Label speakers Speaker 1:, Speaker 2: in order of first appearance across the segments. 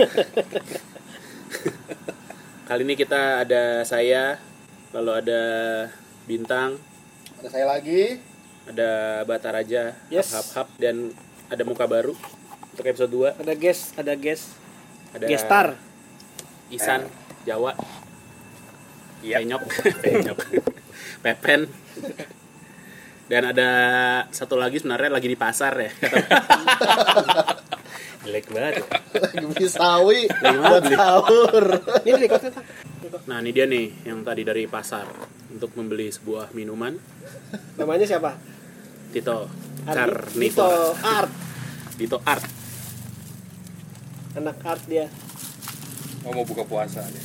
Speaker 1: Kali ini kita ada saya, lalu ada Bintang,
Speaker 2: Ada saya lagi.
Speaker 1: ada Bataraja,
Speaker 3: Yes.
Speaker 1: hap hap dan ada muka baru untuk episode 2
Speaker 3: Ada guest, ada guest,
Speaker 1: ada
Speaker 3: gestar.
Speaker 1: Isan Jawa, Penyok, Penyok, Pepen, dan ada satu lagi sebenarnya lagi di pasar ya. Jelek banget. ya.
Speaker 2: Lagi beli sawi
Speaker 1: mana
Speaker 2: buat
Speaker 1: beli?
Speaker 2: sahur.
Speaker 3: Ini dari kota Pak.
Speaker 1: Nah ini dia nih yang tadi dari pasar untuk membeli sebuah minuman
Speaker 3: Namanya siapa?
Speaker 1: Tito
Speaker 3: Ardi-
Speaker 1: Carnivora.
Speaker 3: Tito Art.
Speaker 1: Tito Art.
Speaker 3: Anak art dia.
Speaker 4: Oh, mau buka puasa nih.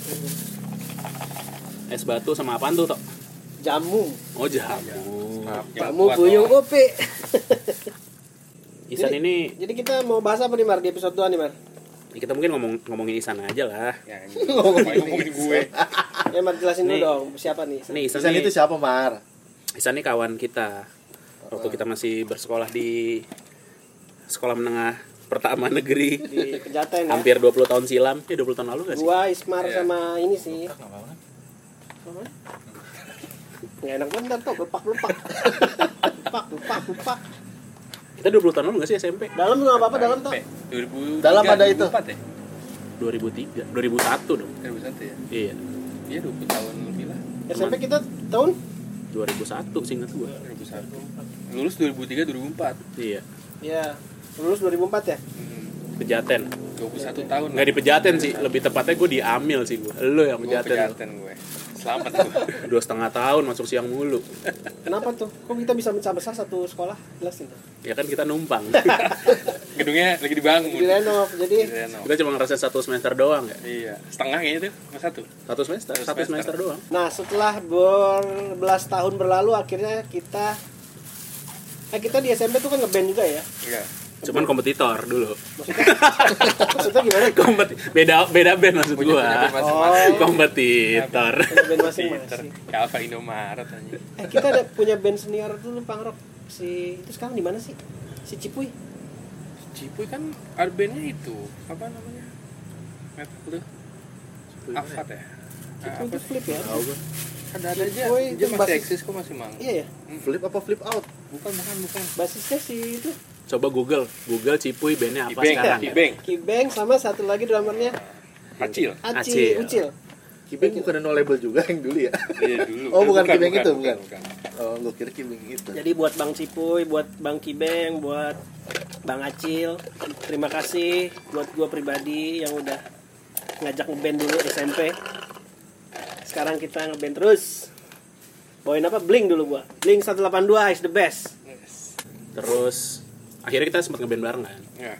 Speaker 1: Es batu sama apaan tuh, Tok?
Speaker 3: Jamu.
Speaker 1: Oh, jamu.
Speaker 4: Yang
Speaker 3: Jamu
Speaker 4: kuat,
Speaker 3: guyung
Speaker 4: Tok.
Speaker 3: kopi.
Speaker 1: Isan ini
Speaker 3: Jadi kita mau bahas apa nih Mar di episode 2 nih Mar?
Speaker 1: ya kita mungkin ngomong ngomongin Isan aja lah.
Speaker 4: Ya, ini.
Speaker 2: Ngomongin
Speaker 4: Ngapain ngomongin gue.
Speaker 3: Ya Mar jelasin dulu
Speaker 1: Nih.
Speaker 3: dong siapa nih?
Speaker 1: Nih, Isan,
Speaker 2: Isan
Speaker 1: nih,
Speaker 2: itu siapa, Mar?
Speaker 1: Isan nih kawan kita. Waktu kita masih bersekolah di sekolah menengah pertama negeri
Speaker 3: Di Pejaten ya.
Speaker 1: hampir 20 tahun silam. Ya 20 tahun lalu gak sih?
Speaker 3: Gua Ismar
Speaker 4: Iya.
Speaker 3: sama ini sih. Apa? Nggak enak banget tuh, lupak lupak. lupak lupak lupak.
Speaker 1: Kita 20 tahun lalu gak sih SMP?
Speaker 3: Dalam nggak apa-apa dalam tuh.
Speaker 4: Sampai 2003,
Speaker 2: Dalam ada itu.
Speaker 4: 2004 ya?
Speaker 1: 2003, 2001 dong.
Speaker 4: 2001 ya?
Speaker 1: Iya,
Speaker 4: Iya 20 tahun lebih lah.
Speaker 3: SMP kita tahun
Speaker 1: 2001 seingat gua.
Speaker 4: 2001. Lulus 2003 2004.
Speaker 1: Iya,
Speaker 3: ya lulus 2004 ya.
Speaker 4: Hmm,
Speaker 1: Pejaten.
Speaker 4: 21 tahun.
Speaker 1: Nggak di Pejaten sih, lebih tepatnya gue di Amil sih gue. Lo yang
Speaker 4: Gue
Speaker 1: Pejaten.
Speaker 4: pejaten gue. Selamat gue.
Speaker 1: Dua setengah tahun masuk siang mulu.
Speaker 3: Kenapa tuh? Kok kita bisa pecah besar satu sekolah? Jelasin tuh.
Speaker 1: Ya kan kita numpang.
Speaker 4: Gedungnya lagi dibangun.
Speaker 3: Di renov.
Speaker 4: Di
Speaker 3: Jadi
Speaker 4: renov.
Speaker 1: kita cuma ngerasa satu semester doang ya.
Speaker 4: Iya, setengah kayaknya tuh, nggak satu.
Speaker 1: Satu semester,
Speaker 4: Satu
Speaker 1: satu
Speaker 4: semester.
Speaker 1: semester doang.
Speaker 3: nah setelah berbelas tahun berlalu akhirnya kita Eh kita di SMP tuh kan ngeband juga ya.
Speaker 4: Iya.
Speaker 1: Cuman kompetitor dulu.
Speaker 3: Maksudnya gimana?
Speaker 1: Kompeti beda beda band maksud
Speaker 4: Punya punya
Speaker 1: gua.
Speaker 4: band masing-masing.
Speaker 3: Oh.
Speaker 1: iya. Kompetitor.
Speaker 3: Ngeband
Speaker 4: Pinter.
Speaker 3: masing-masing.
Speaker 4: Ya Alfa Indomaret aja.
Speaker 3: Eh kita ada punya band senior dulu Pang Rock. Si itu sekarang di mana sih? Si Cipuy.
Speaker 4: Cipuy kan arbennya itu apa namanya? Metal tuh. Afat ya. Ah,
Speaker 3: Cipuy
Speaker 4: apa
Speaker 3: itu
Speaker 4: sih?
Speaker 3: flip ya.
Speaker 1: Tahu gua.
Speaker 4: Ada ada aja.
Speaker 3: Cipuy itu
Speaker 4: Dia masih
Speaker 3: basis-
Speaker 4: eksis kok masih mang.
Speaker 3: Iya ya.
Speaker 2: Flip apa flip out?
Speaker 4: Bukan bukan bukan.
Speaker 3: Basisnya si itu
Speaker 1: Coba Google, Google Cipuy bandnya apa
Speaker 4: Ibeng,
Speaker 1: sekarang? ya?
Speaker 4: Ibeng,
Speaker 3: Kibeng sama satu lagi drummernya
Speaker 4: Acil.
Speaker 3: Aci
Speaker 1: Acil.
Speaker 3: Ucil.
Speaker 2: Kibeng bukan no label juga yang dulu ya.
Speaker 4: Iya dulu.
Speaker 2: Oh, bukan Ibeng itu, bukan.
Speaker 4: bukan.
Speaker 2: Oh, gue kira Kibeng itu.
Speaker 3: Jadi buat Bang Cipuy, buat Bang Kibeng, buat Bang Acil, terima kasih buat gue pribadi yang udah ngajak ngeband dulu SMP. Sekarang kita ngeband terus. Bawain apa? Blink dulu gua. Blink 182 is the best.
Speaker 4: Yes.
Speaker 1: Terus akhirnya kita sempat ngeband bareng kan.
Speaker 4: Ya.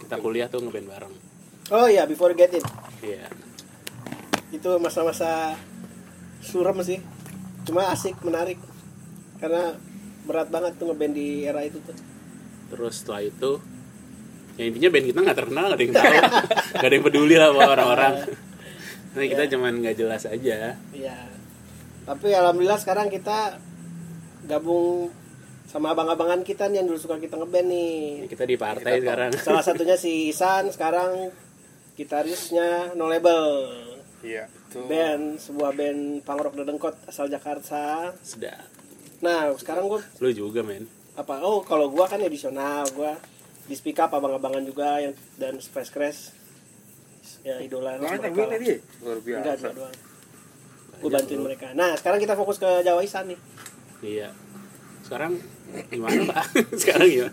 Speaker 1: Kita kuliah tuh ngeband bareng.
Speaker 3: Oh iya, before you get it.
Speaker 1: Iya.
Speaker 3: Itu masa-masa suram sih. Cuma asik, menarik. Karena berat banget tuh ngeband di era itu tuh.
Speaker 1: Terus setelah itu ya intinya band kita nggak terkenal nggak ada yang tahu nggak ada yang peduli lah sama orang-orang nah kita cuman nggak jelas aja
Speaker 3: Iya. Tapi alhamdulillah sekarang kita gabung sama abang-abangan kita nih yang dulu suka kita ngeband nih.
Speaker 1: Ya, kita di partai sekarang
Speaker 3: Iya, Salah satunya si Isan sekarang gitarisnya No Label.
Speaker 4: Iya. Itu.
Speaker 3: Band, sebuah band punk rock dedengkot asal Jakarta.
Speaker 1: sedap
Speaker 3: Nah, sekarang gue
Speaker 1: lu juga men
Speaker 3: apa? Oh, kalau gua kan edisional, gua di speak up abang-abangan juga yang dan Space Crash ya idola
Speaker 4: Orang
Speaker 3: mereka
Speaker 4: tanggung
Speaker 3: lah.
Speaker 4: tadi. ya? Luar biasa.
Speaker 3: Enggak, dua-dua. Gue bantuin mereka. Nah, sekarang kita fokus ke Jawa Isan nih.
Speaker 1: Iya. Sekarang gimana pak? Sekarang gimana?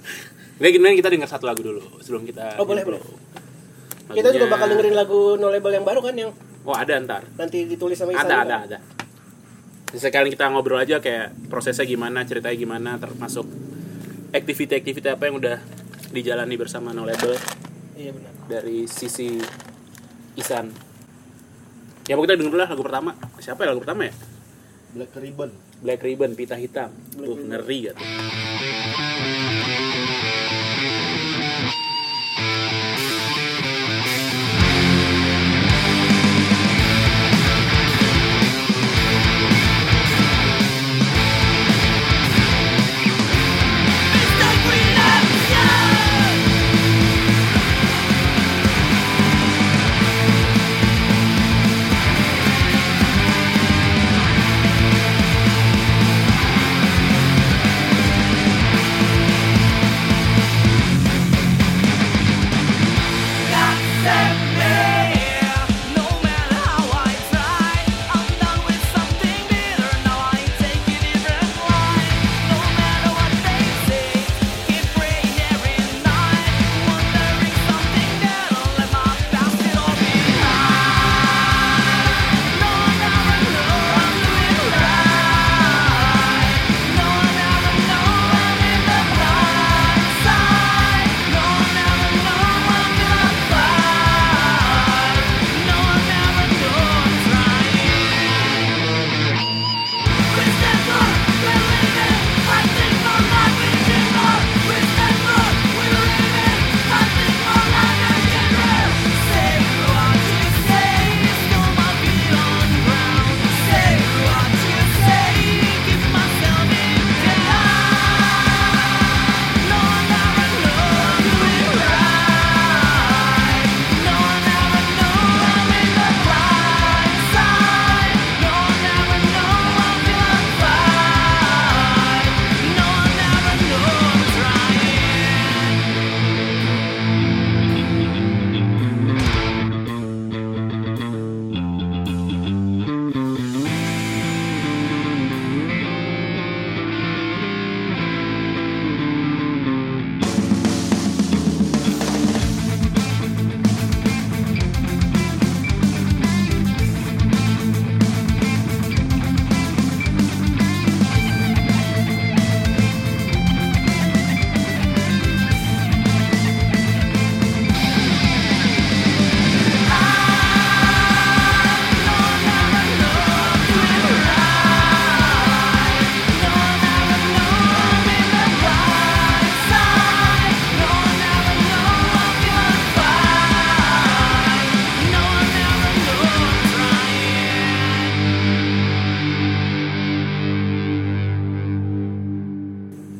Speaker 1: Nggak gimana kita dengar satu lagu dulu sebelum kita.
Speaker 3: Oh, boleh,
Speaker 1: intro.
Speaker 3: boleh. Kita juga
Speaker 1: Lagunya-
Speaker 3: bakal dengerin lagu No Label yang baru kan yang
Speaker 1: Oh ada ntar.
Speaker 3: nanti ditulis sama Isan.
Speaker 1: Ada
Speaker 3: kan?
Speaker 1: ada ada. Sekalian kita ngobrol aja kayak prosesnya gimana, ceritanya gimana, termasuk aktiviti-aktiviti apa yang udah dijalani bersama No Label
Speaker 3: Iya benar.
Speaker 1: dari sisi Isan. Ya pokoknya kita denger dulu lah lagu pertama. Siapa ya lagu pertama ya?
Speaker 2: Black Ribbon.
Speaker 1: Black Ribbon, pita hitam. Tuh ngeri gitu.
Speaker 5: Thank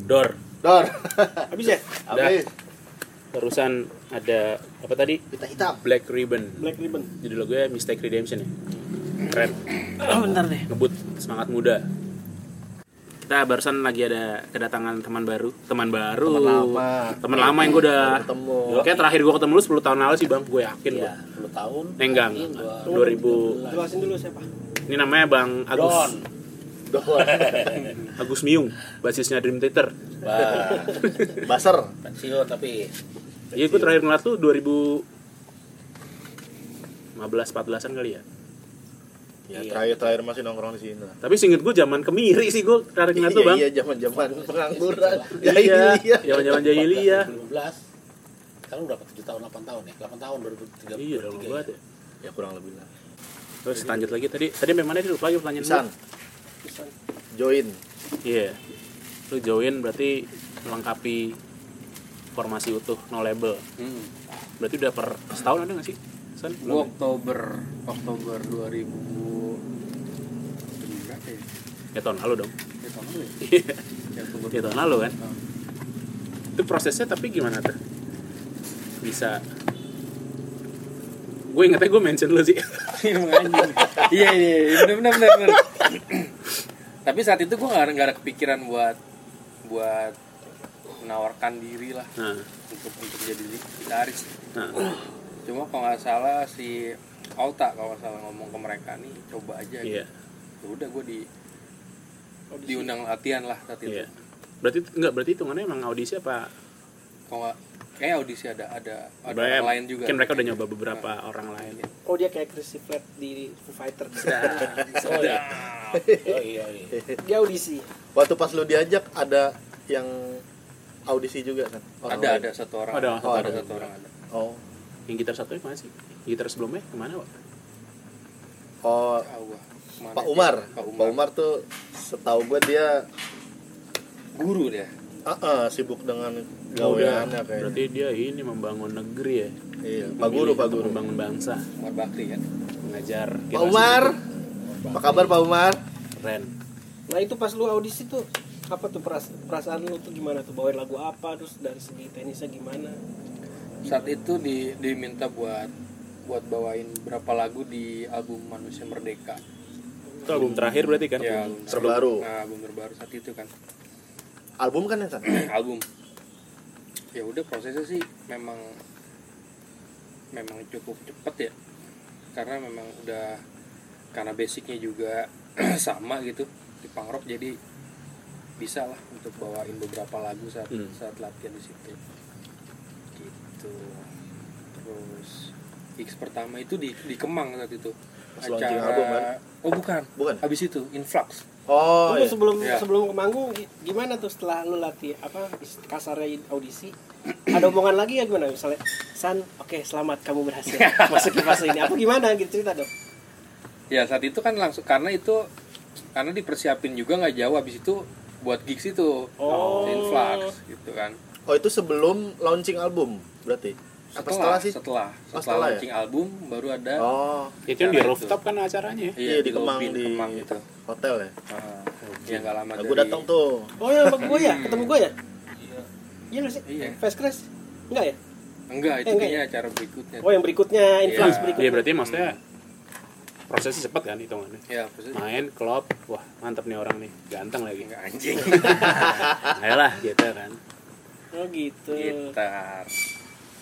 Speaker 1: Dor.
Speaker 2: Dor.
Speaker 3: Habis ya?
Speaker 2: Habis.
Speaker 1: Terusan ada apa tadi?
Speaker 2: Pita hitam.
Speaker 1: Black Ribbon.
Speaker 3: Black Ribbon.
Speaker 1: Judul lagunya Mistake Redemption ya. Keren.
Speaker 3: Oh, bentar deh.
Speaker 1: ngebut semangat muda kita barusan lagi ada kedatangan teman baru teman baru
Speaker 2: Teman lama.
Speaker 1: Teman lama yang gue udah
Speaker 2: Baru ketemu. Iya.
Speaker 1: oke terakhir gue ketemu lu 10 tahun lalu sih bang gue yakin
Speaker 5: ya
Speaker 1: gua.
Speaker 5: 10 tahun
Speaker 1: Eh, enggak, enggak, enggak. 2000
Speaker 3: Jelasin dulu siapa?
Speaker 1: ini namanya bang Agus
Speaker 5: Don
Speaker 2: Dor.
Speaker 1: Agus Miung basisnya Dream Theater
Speaker 5: Wah,
Speaker 2: Baser.
Speaker 5: pensiun tapi
Speaker 1: iya gue terakhir ngeliat tuh 2000 15 14-an kali ya
Speaker 2: Ya
Speaker 5: Iya.
Speaker 2: terakhir terakhir masih nongkrong di sini lah.
Speaker 1: tapi singkat gue zaman kemiri sih gue terakhir ngeliat tuh bang
Speaker 2: Iya, zaman-zaman pengangguran.
Speaker 1: iya
Speaker 2: Jahiliyah.
Speaker 1: zaman-zaman jahiliyah
Speaker 5: 2012 sekarang udah 7 tahun 8 tahun ya 8 tahun 2013
Speaker 1: iya udah lama banget ya
Speaker 2: Ya kurang lebih lah.
Speaker 1: terus lanjut lagi tadi tadi memangnya dia lupa yuk lanjut
Speaker 2: Pisan. Join.
Speaker 1: Iya. Lu join berarti melengkapi formasi utuh no label.
Speaker 4: Hmm.
Speaker 1: Berarti udah per setahun ada nggak sih? San,
Speaker 4: Gua
Speaker 1: belum
Speaker 4: Oktober Oktober 2000 berapa ya?
Speaker 1: ya? Ya tahun lalu dong.
Speaker 4: Ya, tahun lalu ya? Ya, Oktober.
Speaker 1: ya tahun lalu kan.
Speaker 4: Hmm.
Speaker 1: Itu prosesnya tapi gimana tuh? Bisa gue ingetnya gue mention lu sih
Speaker 4: Emang anjing. Iya iya iya. bener bener bener. bener. Tapi saat itu gue nggak nggak ada kepikiran buat buat menawarkan diri lah
Speaker 1: nah,
Speaker 4: untuk untuk jadi gitaris.
Speaker 1: nah.
Speaker 4: Cuma kalau nggak salah si Alta kalau nggak salah ngomong ke mereka nih coba aja. gitu.
Speaker 1: iya
Speaker 4: Ya udah gue di
Speaker 3: Oh,
Speaker 4: diundang latihan lah saat itu.
Speaker 1: iya berarti nggak berarti hitungannya emang audisi apa
Speaker 4: Kalau nggak kayak audisi ada ada ada
Speaker 1: Berarti
Speaker 4: orang lain juga.
Speaker 1: mungkin Kan mereka udah nyoba beberapa orang lain
Speaker 3: Oh dia kayak Chrissy Flat di Foo Fighter.
Speaker 1: Nah.
Speaker 5: oh iya oh iya iya.
Speaker 3: dia audisi.
Speaker 2: Waktu pas lu diajak ada yang audisi juga kan?
Speaker 5: Oh,
Speaker 2: Orang
Speaker 4: Ada
Speaker 5: iya.
Speaker 2: lain.
Speaker 4: ada satu orang.
Speaker 1: Ada,
Speaker 4: satu,
Speaker 2: oh,
Speaker 4: ada
Speaker 2: ada.
Speaker 4: satu orang ada.
Speaker 2: Oh.
Speaker 1: yang gitar satunya kemana sih gitar sebelumnya kemana pak
Speaker 2: Oh,
Speaker 4: Tahu gua. Ya Kemana
Speaker 2: Pak
Speaker 4: dia?
Speaker 2: Umar.
Speaker 4: Pak Umar.
Speaker 2: Pak Umar tuh setahu gue dia
Speaker 4: Guru dia.
Speaker 2: ah, ah, sibuk dengan gaweannya kayaknya.
Speaker 1: Iya, Berarti dia ini membangun negeri ya.
Speaker 2: Iya, Pak Guru, Pak Guru.
Speaker 1: Membangun bangsa,
Speaker 4: Umar Bakri kan.
Speaker 1: mengajar.
Speaker 2: Pak
Speaker 1: generasi
Speaker 2: Umar. Apa kabar Pak Umar?
Speaker 1: Keren.
Speaker 3: Nah itu pas lu audisi tuh apa tuh peras- perasaan lu tuh gimana tuh bawain lagu apa terus dari segi teknisnya gimana?
Speaker 4: saat itu di diminta buat buat bawain berapa lagu di album Manusia Merdeka.
Speaker 1: Itu album terakhir berarti kan?
Speaker 4: Ya,
Speaker 1: Album.
Speaker 2: Terbaru.
Speaker 4: Nah, album terbaru saat itu kan.
Speaker 2: Album kan yang sana?
Speaker 4: album. Ya udah prosesnya sih memang memang cukup cepet ya. Karena memang udah karena basicnya juga sama gitu di punk rock jadi bisa lah untuk bawain beberapa lagu saat
Speaker 1: Hmm.
Speaker 4: saat latihan di situ. Gitu. Terus gigs pertama itu di di Kemang saat itu.
Speaker 2: Pas launching album, kan?
Speaker 4: Oh bukan.
Speaker 2: Bukan?
Speaker 4: Habis itu Influx.
Speaker 2: Oh,
Speaker 3: Lu
Speaker 2: iya.
Speaker 3: sebelum
Speaker 4: Iya.
Speaker 3: sebelum ke manggung gi- gimana tuh setelah lu latih apa is- kasarnya audisi? Ada omongan lagi ya gimana misalnya San, oke selamat kamu berhasil masuk ke fase ini. Apa gimana gitu cerita dong?
Speaker 4: Ya saat itu kan langsung karena itu karena dipersiapin juga nggak jauh habis itu buat gigs itu
Speaker 3: Oh.
Speaker 4: influx gitu kan
Speaker 2: Oh, itu sebelum launching album berarti. Apa setelah sih?
Speaker 4: setelah
Speaker 2: Oh,
Speaker 4: setelah,
Speaker 2: setelah ya?
Speaker 4: launching album baru ada
Speaker 2: Oh,
Speaker 1: Itu
Speaker 4: Karena
Speaker 1: yang di
Speaker 4: itu.
Speaker 1: rooftop kan acaranya ya?
Speaker 2: iya, di Kemang
Speaker 4: Lobby,
Speaker 2: di
Speaker 4: Kemang gitu
Speaker 2: hotel ya.
Speaker 4: Ah, ya nggak lama
Speaker 2: Aku datang tuh.
Speaker 3: Oh ya sama gue ya, ketemu gue ya? Iya nggak sih?
Speaker 4: Iya.
Speaker 3: Face crash? Enggak ya?
Speaker 4: enggak itu
Speaker 3: Eh, enggak
Speaker 4: kayaknya acara berikutnya
Speaker 3: Oh yang berikutnya, influence
Speaker 4: Iya.
Speaker 1: Iya
Speaker 3: berikutnya.
Speaker 1: berarti maksudnya prosesnya cepat kan hitungannya.
Speaker 4: ya maksudnya
Speaker 1: Main, klop, wah mantep nih orang nih, ganteng lagi.
Speaker 4: enggak anjing
Speaker 1: Ayolah gitu kan.
Speaker 3: Oh gitu.
Speaker 4: Iya. gitar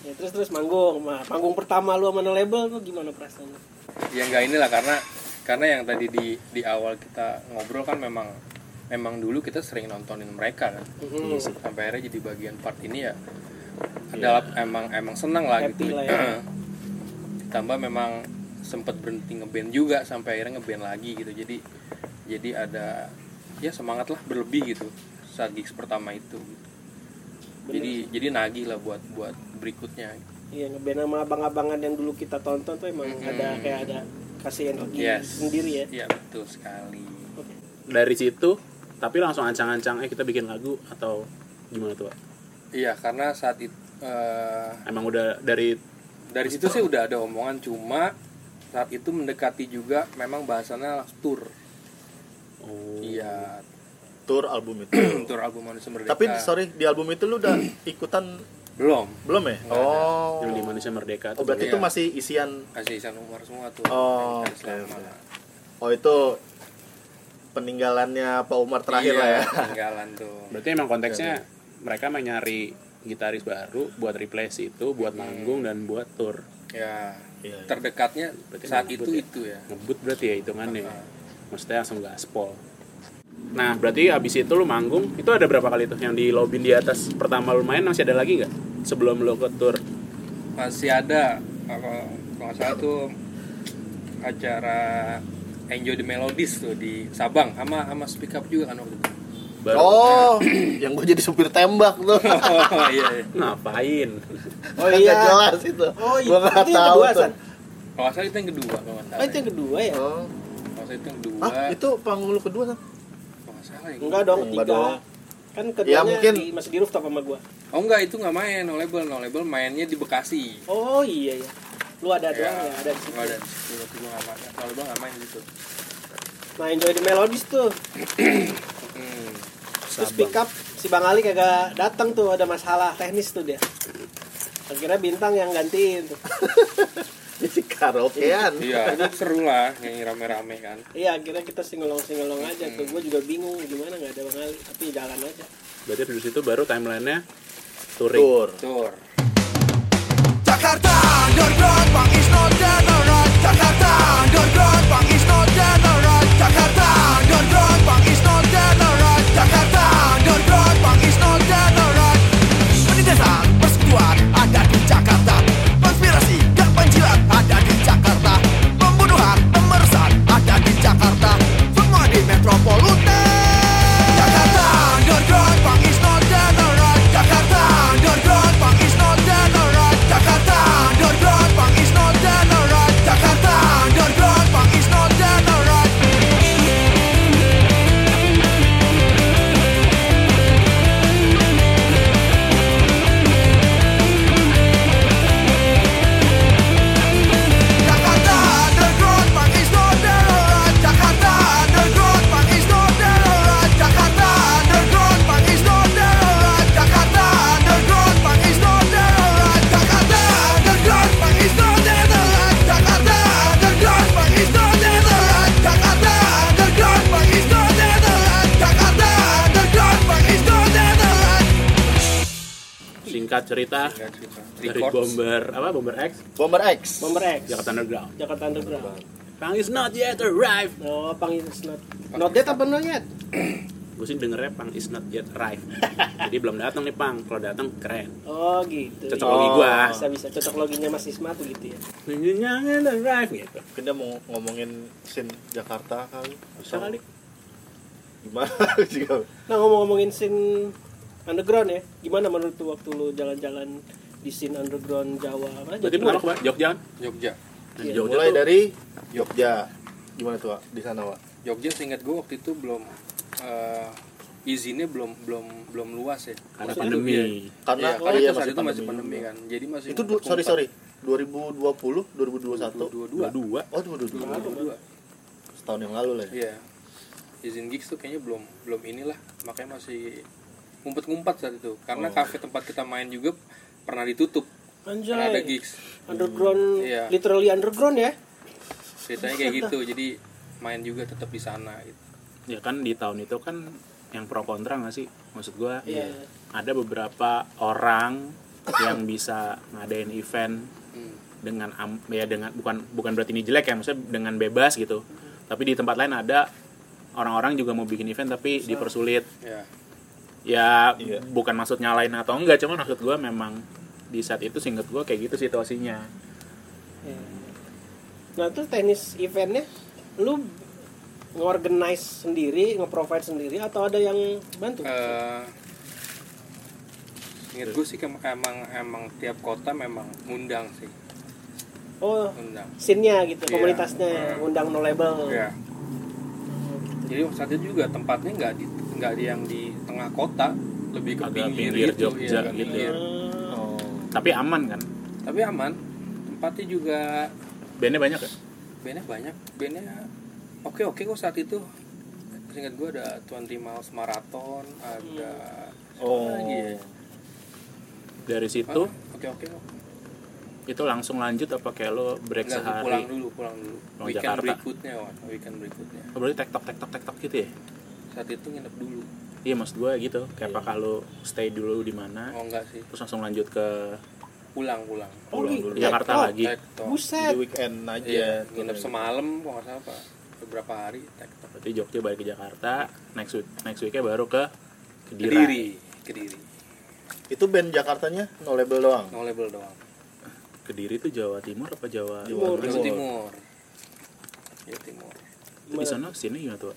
Speaker 3: Ya, terus terus manggung, Nah, panggung pertama lu sama No label lu gimana perasaannya?
Speaker 4: ya nggak inilah karena karena yang tadi di di awal kita ngobrol kan memang memang dulu kita sering nontonin mereka kan
Speaker 3: Mhm.
Speaker 4: sampai akhirnya jadi bagian part ini ya adalah emang emang senang lah
Speaker 3: Iya. Happy
Speaker 4: gitu
Speaker 3: lah ya.
Speaker 4: ditambah memang sempat berhenti ngeband juga sampai akhirnya ngeband lagi gitu jadi jadi ada ya semangat lah berlebih gitu saat gigs pertama itu gitu. jadi jadi nagih lah buat buat berikutnya
Speaker 3: Iya ngeband sama abang-abangan yang dulu kita tonton tuh emang
Speaker 4: Mhm.
Speaker 3: ada kayak ada kasih energi
Speaker 4: Yes.
Speaker 3: sendiri ya. Oh.
Speaker 4: ya betul sekali
Speaker 3: Oke.
Speaker 1: Dari situ, tapi langsung ancang-ancang, eh kita bikin lagu atau gimana tuh? Pak?
Speaker 4: iya karena saat itu eh,
Speaker 1: Emang udah dari
Speaker 4: dari situ sih udah ada omongan cuma saat itu mendekati juga memang bahasannya tour
Speaker 1: oh,
Speaker 4: Iya,
Speaker 2: tour album itu.
Speaker 4: Tour album Manusia Merdeka.
Speaker 2: Tapi sorry di album itu lu udah ikutan
Speaker 4: belum.
Speaker 2: belum ya?
Speaker 4: Nggak ada.
Speaker 2: Oh.
Speaker 1: yang di Manusia Merdeka
Speaker 2: Oh,
Speaker 1: tuh
Speaker 2: berarti
Speaker 4: Iya.
Speaker 2: itu masih isian
Speaker 4: Kasih Isan Umar semua tuh.
Speaker 2: Oh,
Speaker 4: Yang
Speaker 2: oke,
Speaker 4: selama.
Speaker 2: oke. Oh itu peninggalannya Pak Umar terakhir
Speaker 4: Iya,
Speaker 2: lah ya.
Speaker 4: Peninggalan tuh.
Speaker 1: berarti emang konteksnya mereka mau nyari gitaris baru buat replace itu buat manggung dan buat tour
Speaker 4: Ya.
Speaker 2: Iya, iya.
Speaker 4: Terdekatnya
Speaker 1: Berarti
Speaker 4: saat itu
Speaker 1: ngebut ya?
Speaker 4: itu ya.
Speaker 1: ngebut berarti ya hitungannya ya. maksudnya langsung gaspol nah berarti abis itu lu manggung itu ada berapa kali tuh yang di lobin di atas pertama lu main masih ada lagi nggak sebelum lu ke tour
Speaker 4: Masih ada apa kalau nggak salah tuh acara Enjoy the Melodies tuh di Sabang sama sama Speak Up juga kan waktu itu.
Speaker 1: baru
Speaker 2: Oh, yang gue jadi supir tembak tuh.
Speaker 4: Oh, iya, iya.
Speaker 1: ngapain
Speaker 2: Oh
Speaker 3: iya.
Speaker 2: jelas itu.
Speaker 3: Oh,
Speaker 2: Gua
Speaker 3: itu-
Speaker 2: nggak
Speaker 3: itu yang
Speaker 2: tahu
Speaker 3: kedua,
Speaker 2: tuh.
Speaker 3: San?
Speaker 4: Kalau nggak salah itu yang kedua kalau nggak
Speaker 3: Oh,
Speaker 4: salah.
Speaker 3: itu yang kedua ya?
Speaker 2: Oh.
Speaker 4: Kalau nggak salah itu yang kedua.
Speaker 2: Ah, itu panggung lu kedua kan?
Speaker 4: Kalau nggak salah ya.
Speaker 3: Enggak dong,
Speaker 2: Enggak
Speaker 3: tiga.
Speaker 2: dong.
Speaker 3: Kan keduanya
Speaker 2: Ya, mungkin-
Speaker 3: di, masih di rooftop sama gua.
Speaker 4: Oh enggak itu nggak main no label no label mainnya di Bekasi.
Speaker 3: Oh iya ya. Lu ada doang ya, ada di situ.
Speaker 4: Nggak Iya. ada di situ, waktu gua nggak main. No label nggak main gitu.
Speaker 3: Nah, enjoy the melodies tuh.
Speaker 4: Hmm.
Speaker 3: Terus pick up si Bang Ali kagak datang tuh ada masalah teknis tuh dia. Akhirnya bintang yang gantiin tuh.
Speaker 2: Jadi karaokean.
Speaker 4: Iya, itu seru lah nyanyi rame-rame kan.
Speaker 3: Iya, akhirnya kita singelong-singelong aja tuh. Gua juga bingung gimana nggak ada Bang Ali, tapi jalan aja.
Speaker 1: berarti dari situ baru timelinenya touring
Speaker 2: Tour.
Speaker 4: Tur.
Speaker 6: Jakarta underground, Bang is not dead, alright. Jakarta underground, Bang is not dead, alright. Jakarta underground, Bang is not dead, alright. Jakarta underground, Bang is not dead, alright. Penindasan persekutuan ada di Jakarta. Konspirasi dan penjilat ada di Jakarta. Pembunuhan, pemersaan ada di Jakarta. Semua di metropolitan. Jakarta underground, Bang is not dead, alright. Jakarta underground, Bang is not dead, alright. Jakarta underground, Bang is not dead, alright. Jakarta underground, Bang is not dead, alright. Jakarta underground, Bang is not dead, alright. Jakarta underground, Bang is not dead, alright. Jakarta underground, Bang is not dead, alright. Jakarta underground, Bang is not dead, alright. Jakarta underground, Bang is not dead, alright. Jakarta underground, Bang is not dead, alright. Jakarta underground, Bang is not dead, alright. Jakarta underground, Bang is not dead, alright.
Speaker 1: singkat cerita
Speaker 4: Enggak cerita.
Speaker 1: dari
Speaker 4: ya Records.
Speaker 1: bomber apa bomber X
Speaker 2: Bomber X.
Speaker 3: Bomber X.
Speaker 1: Jakarta Underground
Speaker 3: Jakarta Underground.
Speaker 1: Bang is not yet arrived
Speaker 3: Oh, Pang is not not dead apa not yet?
Speaker 1: gue sih dengernya Pang is not yet arrived jadi belum datang nih Pang kalau datang keren
Speaker 3: Oh, gitu.
Speaker 1: cocok logi gua
Speaker 3: Bisa bisa cocok loginya Mas Isma tuh gitu ya.
Speaker 1: jangan arrive gitu
Speaker 2: Mungkin dia mau ngomongin scene Jakarta kali.
Speaker 1: bisa kali
Speaker 2: Gimana juga.
Speaker 3: Nah ngomong-ngomongin scene underground ya, gimana menurut lu waktu lu jalan-jalan di scene underground Jawa apa aja?
Speaker 1: berarti pertama
Speaker 3: Gimana?
Speaker 1: ke Jogja kan?
Speaker 4: Jogja.
Speaker 1: Dari
Speaker 3: Iya.
Speaker 1: Jogja
Speaker 2: Mulai
Speaker 1: tuh
Speaker 2: dari Jogja. Gimana tuh, Wak? Di sana, Wak?
Speaker 4: Jogja seingat gue waktu itu belum eh, izinnya belum belum belum luas ya.
Speaker 1: karena
Speaker 4: Maksudnya
Speaker 1: pandemi
Speaker 4: Iya,
Speaker 2: Karena
Speaker 4: Iya,
Speaker 2: oh
Speaker 4: karena
Speaker 2: iya,
Speaker 4: itu saat itu masih pandemi
Speaker 2: juga.
Speaker 4: kan. Jadi masih
Speaker 2: Itu du- sorry sorry. 2020, 2021.
Speaker 4: dua dua
Speaker 1: dua dua
Speaker 2: Oh,
Speaker 4: dua
Speaker 2: 2022. Setahun yang lalu lah ya.
Speaker 4: Iya. Izin gigs tuh kayaknya belum belum inilah, makanya masih ngumpet-ngumpet saat itu. Karena kafe tempat kita main juga pernah ditutup, pernah ada
Speaker 3: Anjay,
Speaker 4: gigs.
Speaker 3: underground,
Speaker 4: Iya.
Speaker 3: literally underground ya.
Speaker 4: Ceritanya kayak gitu, jadi main juga tetap di sana gitu.
Speaker 1: ya kan di tahun itu kan yang pro kontra nggak sih maksud gue
Speaker 3: Iya.
Speaker 1: ada beberapa orang yang bisa ngadain event
Speaker 4: Hmm.
Speaker 1: dengan am- ya dengan bukan bukan berarti ini jelek ya maksudnya dengan bebas gitu tapi di tempat lain ada orang-orang juga mau bikin event tapi dipersulit
Speaker 4: Ya.
Speaker 1: ya
Speaker 2: Iya.
Speaker 1: bukan maksud nyalain atau enggak cuman maksud gue memang di saat itu singkat gue kayak gitu situasinya
Speaker 3: Iya. Nah terus teknis eventnya, lu nge-organize sendiri, nge-provide sendiri atau ada yang bantu?
Speaker 4: Eh, Ingat gue sih kem- emang emang tiap kota memang ngundang sih,
Speaker 3: oh,
Speaker 4: ngundang.
Speaker 3: scene-nya gitu,
Speaker 4: Iya.
Speaker 3: komunitasnya, undang no label.
Speaker 4: Ya. Jadi saat itu juga tempatnya nggak di nggak di yang di tengah kota, lebih ke
Speaker 1: Agak
Speaker 4: pinggir,
Speaker 1: pinggir
Speaker 4: gitu,
Speaker 1: Jogja
Speaker 4: iya,
Speaker 1: gitu
Speaker 4: pinggir.
Speaker 3: Ah,
Speaker 2: Oh.
Speaker 1: tapi aman kan
Speaker 4: Tapi aman, tempatnya juga
Speaker 1: bandnya banyak ya
Speaker 4: bandnya banyak, bandnya oke oke kok saat itu seingat gue ada 20 miles marathon ada
Speaker 1: Oh.
Speaker 4: Lagi ya?
Speaker 7: dari situ
Speaker 4: Ah, oke oke
Speaker 1: Itu langsung lanjut apa kayak lo break
Speaker 4: Enggak, gua
Speaker 1: sehari?
Speaker 4: pulang dulu pulang dulu
Speaker 1: Pulang
Speaker 4: weekend
Speaker 1: Jakarta.
Speaker 4: berikutnya Wan weekend berikutnya
Speaker 1: Oh, berarti tektok tektok tektok gitu ya?
Speaker 4: saat itu nginep dulu
Speaker 1: Iya maksud gue gitu. Kayak apakah lo stay dulu di mana?
Speaker 4: oh enggak sih
Speaker 1: Terus langsung lanjut ke
Speaker 4: pulang pulang Iya.
Speaker 3: Oh,
Speaker 1: pulang
Speaker 3: gitu.
Speaker 1: dulu Jakarta
Speaker 5: Oh,
Speaker 1: lagi.
Speaker 4: Tektok.
Speaker 3: Buset.
Speaker 1: Di weekend aja.
Speaker 4: Eh. iya nginep semalam kok nggak salah apa beberapa hari tektok
Speaker 1: Berarti Jogja balik ke Jakarta. Next week next weeknya baru ke Kedira.
Speaker 4: kediri kediri
Speaker 2: Itu band Jakartanya no label doang.
Speaker 4: no label doang
Speaker 1: Kediri itu Jawa Timur apa Jawa?
Speaker 4: Jawa
Speaker 2: Timur.
Speaker 4: timur Jawa timur
Speaker 1: Itu Di sana sini gimana tuh?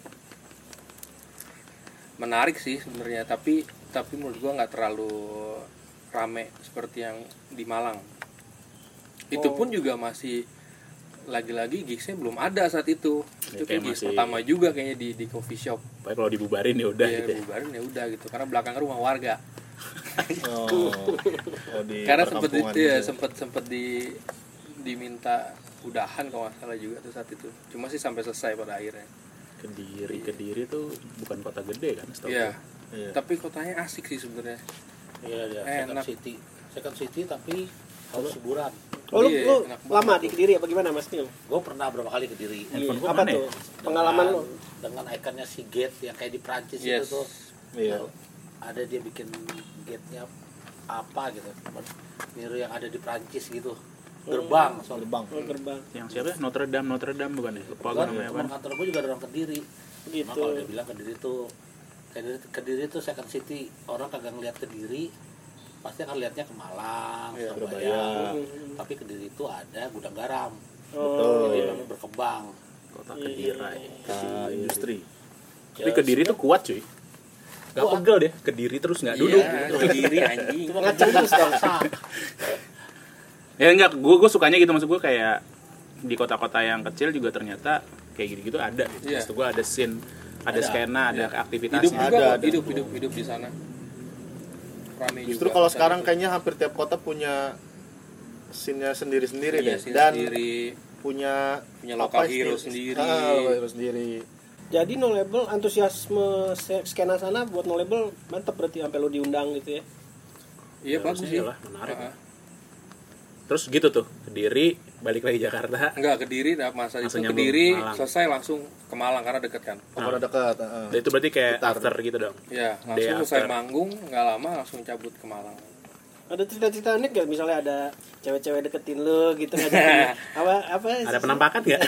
Speaker 4: menarik sih sebenarnya tapi tapi menurut gua nggak terlalu rame seperti yang di Malang itu
Speaker 1: Oh.
Speaker 4: pun juga masih lagi-lagi gigsnya belum ada saat itu itu
Speaker 1: Ya, kayak
Speaker 4: kayak gigs
Speaker 1: masih-
Speaker 4: pertama juga kayaknya di di coffee shop
Speaker 1: Pokoknya kalau dibubarin ya udah
Speaker 4: ya,
Speaker 1: gitu ya.
Speaker 4: bubarin ya udah gitu karena belakang rumah warga
Speaker 2: Oh. oh di
Speaker 1: Iya,
Speaker 4: karena sempet
Speaker 2: perkampungan
Speaker 4: itu ya
Speaker 2: gitu.
Speaker 4: sempet sempet di diminta udahan kalau nggak salah juga tuh saat itu cuma sih sampai selesai pada akhirnya
Speaker 1: Kediri, Kediri tuh bukan kota gede kan? setahu
Speaker 4: Iya.
Speaker 1: gue.
Speaker 2: Iya.
Speaker 4: tapi kotanya asik sih sebenarnya
Speaker 5: Iya, iya. Second
Speaker 4: Enak.
Speaker 5: city. Second city tapi harus hiburan.
Speaker 3: Oh, lu,
Speaker 4: Iya,
Speaker 3: lu
Speaker 4: enak banget
Speaker 3: lama
Speaker 4: tuh.
Speaker 3: di Kediri apa gimana Mas Nil?
Speaker 5: Gue pernah berapa kali ke Diri. Kan
Speaker 1: Handphone gua
Speaker 3: Iya, Apa
Speaker 1: mana ya?
Speaker 3: tuh? Pengalaman lu?
Speaker 5: Dengan ikonnya si gate yang kayak di Prancis
Speaker 4: Yes.
Speaker 5: itu tuh.
Speaker 2: Iya.
Speaker 5: Nah, Ada dia bikin gate-nya apa gitu. Niru yang ada di Prancis gitu. Gerbang soalnya.
Speaker 2: Gerbang.
Speaker 4: Iya,
Speaker 3: Oh, gerbang
Speaker 1: Yang siapa ya? Notre Dame, Notre Dame bukan ya? Lupa gue
Speaker 5: Kan
Speaker 1: namanya apa.
Speaker 5: teman kantor gue juga ada orang Kediri. Gitu.
Speaker 3: gitu.
Speaker 5: kalau dia bilang Kediri tuh Kediri, Kediri tuh second city. Orang kagak ngeliat Kediri pasti akan lihatnya ke Malang,
Speaker 2: Iya,
Speaker 5: Surabaya.
Speaker 3: Mm-mm.
Speaker 5: Tapi Kediri itu ada gudang garam.
Speaker 3: Hmm. Oh,
Speaker 5: Jadi memang Gitu berkembang.
Speaker 1: Kota Kedira
Speaker 4: Iya.
Speaker 1: ya.
Speaker 2: Nah, industri.
Speaker 1: Tapi Kediri tuh kuat cuy. Gak pegel deh, Kediri terus gak duduk. Gitu.
Speaker 4: Iya, kediri anjing
Speaker 5: Cuma ngecengis bangsa.
Speaker 1: Ya enggak, gue gue sukanya gitu maksud gue kayak di kota-kota yang kecil juga ternyata kayak gitu-gitu ada. Gitu.
Speaker 4: Iya.
Speaker 1: Maksud gue ada scene, ada, skena, ada
Speaker 4: hidup
Speaker 1: aktivitasnya.
Speaker 4: juga
Speaker 2: Ada,
Speaker 4: kok,
Speaker 2: ada.
Speaker 4: hidup hidup hidup di sana Rame
Speaker 2: Justru
Speaker 4: juga
Speaker 2: kalau
Speaker 4: saat
Speaker 2: sekarang
Speaker 4: itu.
Speaker 2: kayaknya hampir tiap kota punya scene-nya sendiri-sendiri
Speaker 4: Iya,
Speaker 2: deh
Speaker 4: sih,
Speaker 2: dan
Speaker 4: sendiri
Speaker 2: punya
Speaker 4: Punya
Speaker 2: apa
Speaker 4: local
Speaker 2: sih?
Speaker 4: hero sendiri.
Speaker 2: Ah, local hero sendiri.
Speaker 3: Jadi no label antusiasme se- skena sana buat no label mantep berarti sampai lu diundang gitu ya.
Speaker 4: iya bagus
Speaker 1: harusnya
Speaker 4: sih
Speaker 1: iyalah, menarik.
Speaker 4: Heeh.
Speaker 1: Terus gitu tuh, Kediri balik lagi Jakarta.
Speaker 4: enggak kediri nah, masa itu
Speaker 1: Langsung nyambung,
Speaker 4: kediri
Speaker 1: Malang.
Speaker 4: selesai langsung ke Malang karena deket kan
Speaker 2: Oh, pada dekat, heeh.
Speaker 1: Dan Nah, itu berarti kayak after gitu dong.
Speaker 4: ya
Speaker 1: Day
Speaker 4: langsung selesai
Speaker 1: after.
Speaker 4: manggung nggak lama langsung cabut ke Malang
Speaker 3: Ada cerita-cerita unik gak? Misalnya ada cewek-cewek deketin lu gitu ngajakin apa apa
Speaker 1: Ada penampakan nggak?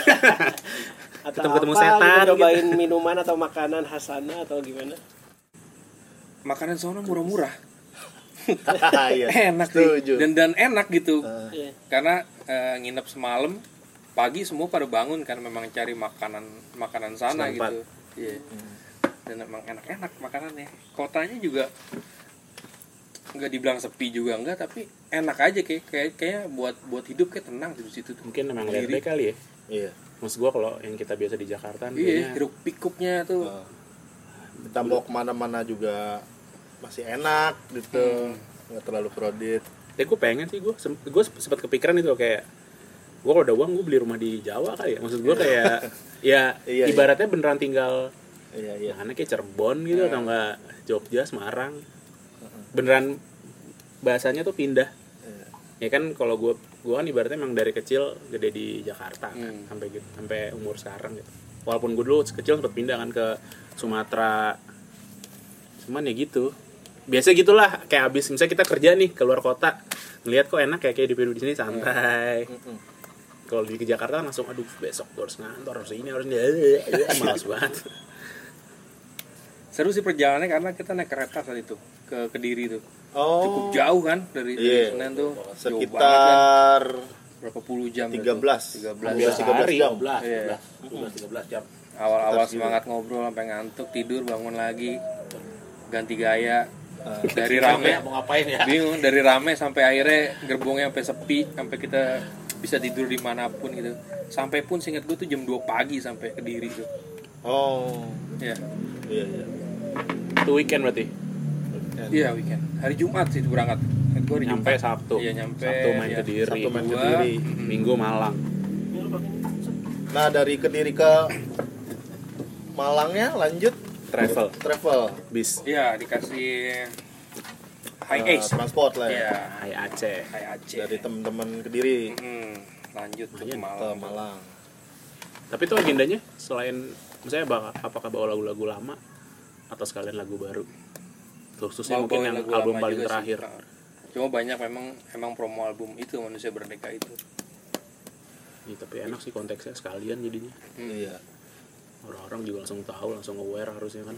Speaker 3: atau
Speaker 1: ketemu-ketemu
Speaker 3: apa,
Speaker 1: setan
Speaker 3: gitu,
Speaker 1: gitu.
Speaker 3: cobain minuman atau makanan khas sana atau gimana?
Speaker 4: makanan sono murah-murah
Speaker 2: Iya.
Speaker 4: enak
Speaker 2: Setuju. Ah,
Speaker 4: sih dan dan enak gitu
Speaker 2: Heeh.
Speaker 1: Nah.
Speaker 3: Iya.
Speaker 4: karena eh, nginep semalam pagi semua pada bangun kan memang cari makanan makanan sana
Speaker 1: Setempat.
Speaker 4: gitu Iya. dan emang enak-enak makanannya kotanya juga nggak dibilang sepi juga enggak tapi enak aja kayak kayak kayak buat buat hidup kayak tenang di situ tuh
Speaker 1: Mungkin emang
Speaker 4: Kediri.
Speaker 1: lihat kali ya.
Speaker 2: Iya.
Speaker 1: Maksud gue kalau yang kita biasa di
Speaker 4: iya
Speaker 1: Jakarta kayaknya
Speaker 4: hiruk pikuknya tuh
Speaker 2: Heeh. Kita mau Nah, kemana-mana juga masih enak gitu.
Speaker 4: Hmm.
Speaker 2: Nggak terlalu crowded.
Speaker 1: Ya gue pengen sih gue gue sempat kepikiran itu kayak gue kalau ada uang gue beli rumah di Jawa kali ya maksud gue kayak ya
Speaker 2: Iya, iya.
Speaker 1: ibaratnya beneran tinggal
Speaker 2: Iya, iya.
Speaker 1: ya aneh kayak Cirebon gitu atau enggak Jogja Semarang beneran bahasanya tuh pindah
Speaker 2: Iya.
Speaker 1: ya kan kalau gue gue kan ibaratnya emang dari kecil gede di Jakarta kan,
Speaker 4: Hmm.
Speaker 1: sampai gitu- sampai umur sekarang gitu walaupun gue dulu kecil sempat pindah kan ke Sumatera cuman ya gitu biasa gitulah kayak abis misalnya kita kerja nih keluar kota ngelihat kok enak kayak kayak di Peru di sini santai
Speaker 4: Hmm.
Speaker 1: kalau di ke Jakarta kan langsung aduh besok gue harus ngantor harus ini harus ini malas banget
Speaker 4: seru sih perjalanannya karena kita naik kereta saat itu ke kediri tuh
Speaker 2: Oh.
Speaker 4: cukup jauh kan dari, dari
Speaker 2: Iya.
Speaker 4: Senen tuh Jauh banget kan.
Speaker 2: sekitar
Speaker 4: berapa puluh jam
Speaker 2: 13
Speaker 4: dah tuh. ya.
Speaker 2: 12 13 jam.
Speaker 5: 12,
Speaker 4: Iya.
Speaker 5: 12, 13 jam.
Speaker 4: awal-awal semangat ngobrol sampai ngantuk tidur bangun lagi ganti gaya dari rame
Speaker 5: Capek, mau ngapain ya?
Speaker 4: bingung dari rame sampai akhirnya gerbongnya sampai sepi sampai kita bisa tidur dimanapun gitu sampai pun singkat gue tuh jam 2 pagi sampai kediri tuh
Speaker 2: Oh.
Speaker 4: ya
Speaker 2: Iya, iya.
Speaker 1: itu weekend berarti
Speaker 4: iya weekend hari Jumat sih berangkat gue hari
Speaker 1: nyampe
Speaker 4: Jumat
Speaker 1: Sabtu
Speaker 4: Iya, nyampe,
Speaker 1: Sabtu main
Speaker 4: iya.
Speaker 1: ke Diri
Speaker 2: Sabtu main ke
Speaker 4: Dua.
Speaker 2: Kediri.
Speaker 1: Minggu Malang
Speaker 2: Nah, dari Kediri ke Malangnya lanjut
Speaker 1: travel
Speaker 2: travel
Speaker 1: bis
Speaker 4: Iya, dikasih high
Speaker 2: Eh,
Speaker 4: ace.
Speaker 2: transport lah ya.
Speaker 4: Iya,
Speaker 1: Hai Aceh
Speaker 4: high Aceh.
Speaker 2: Dari teman-teman Kediri
Speaker 4: Mm, lanjut ke
Speaker 2: ke
Speaker 4: Malang.
Speaker 2: Malang.
Speaker 1: tapi itu agendanya selain misalnya bak- apakah bawa lagu-lagu lama atau sekalian lagu baru khususnya
Speaker 4: Bawa-
Speaker 1: mungkin
Speaker 4: bawain
Speaker 1: yang
Speaker 4: lagu
Speaker 1: album
Speaker 4: lama
Speaker 1: paling
Speaker 4: juga sih.
Speaker 1: terakhir
Speaker 4: Nah, Cuma banyak memang emang promo album itu manusia berdeka itu.
Speaker 1: Ih, Iya, tapi enak sih konteksnya sekalian jadinya
Speaker 4: Hmm.
Speaker 2: Iya.
Speaker 1: orang-orang juga langsung tahu langsung aware harusnya kan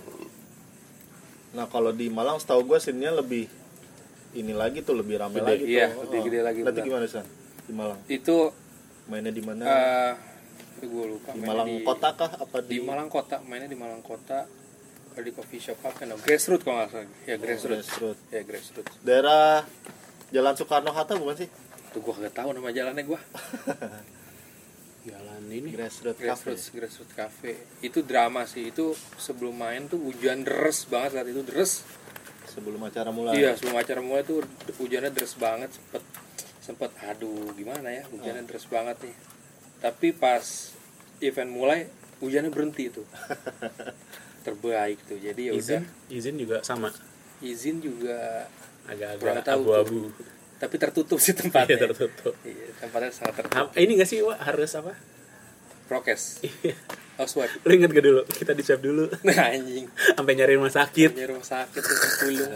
Speaker 2: Nah, kalau di Malang setahu gue scene-nya lebih ini lagi tuh lebih ramai
Speaker 1: Gede.
Speaker 2: lagi
Speaker 4: Iya,
Speaker 2: tuh.
Speaker 4: lebih gede lagi,
Speaker 2: Berarti
Speaker 4: benar.
Speaker 2: gimana San? Di Malang.
Speaker 4: Itu
Speaker 2: Mainnya di mana?
Speaker 4: eh gue lupa.
Speaker 2: di
Speaker 4: mainnya
Speaker 2: Malang kota kah apa
Speaker 4: Di Malang kota, mainnya di Malang kota. Kalau di coffee shop apa namanya? Grassroot kalau nggak salah.
Speaker 1: Oh,
Speaker 4: Ya Grassroot.
Speaker 2: Grassroot.
Speaker 4: Ya Grassroot.
Speaker 2: Daerah Jalan Soekarno Hatta bukan sih?
Speaker 4: Tuh gue kagak tahu nama jalannya gue.
Speaker 1: Ah, jalan ini
Speaker 2: Grassroot Cafe.
Speaker 4: Grassroots, Grassroots Cafe. Itu drama sih. Itu sebelum main tuh hujan deres banget saat itu deres.
Speaker 2: Sebelum acara mulai.
Speaker 4: Iya, sebelum acara mulai tuh hujannya deres banget sempet sempet aduh gimana ya
Speaker 1: Oh.
Speaker 4: hujannya deres banget nih. Tapi pas event mulai hujannya berhenti itu. Terbaik tuh. Jadi ya udah
Speaker 1: izin izin juga sama
Speaker 4: izin juga Kurang
Speaker 1: agak-agak
Speaker 4: tahu
Speaker 1: abu-abu
Speaker 4: tapi tertutup sih
Speaker 1: Iya,
Speaker 4: tempatnya.
Speaker 1: tertutup
Speaker 4: Iya, tempatnya sangat tertutup.
Speaker 1: Nah, ini gak sih Wak, harus apa
Speaker 4: Prokes. Housewife.
Speaker 1: lu inget gak dulu kita di swab dulu
Speaker 4: Nah, anjing.
Speaker 1: sampai nyari rumah sakit
Speaker 4: Punya rumah sakit tuh sepuluh.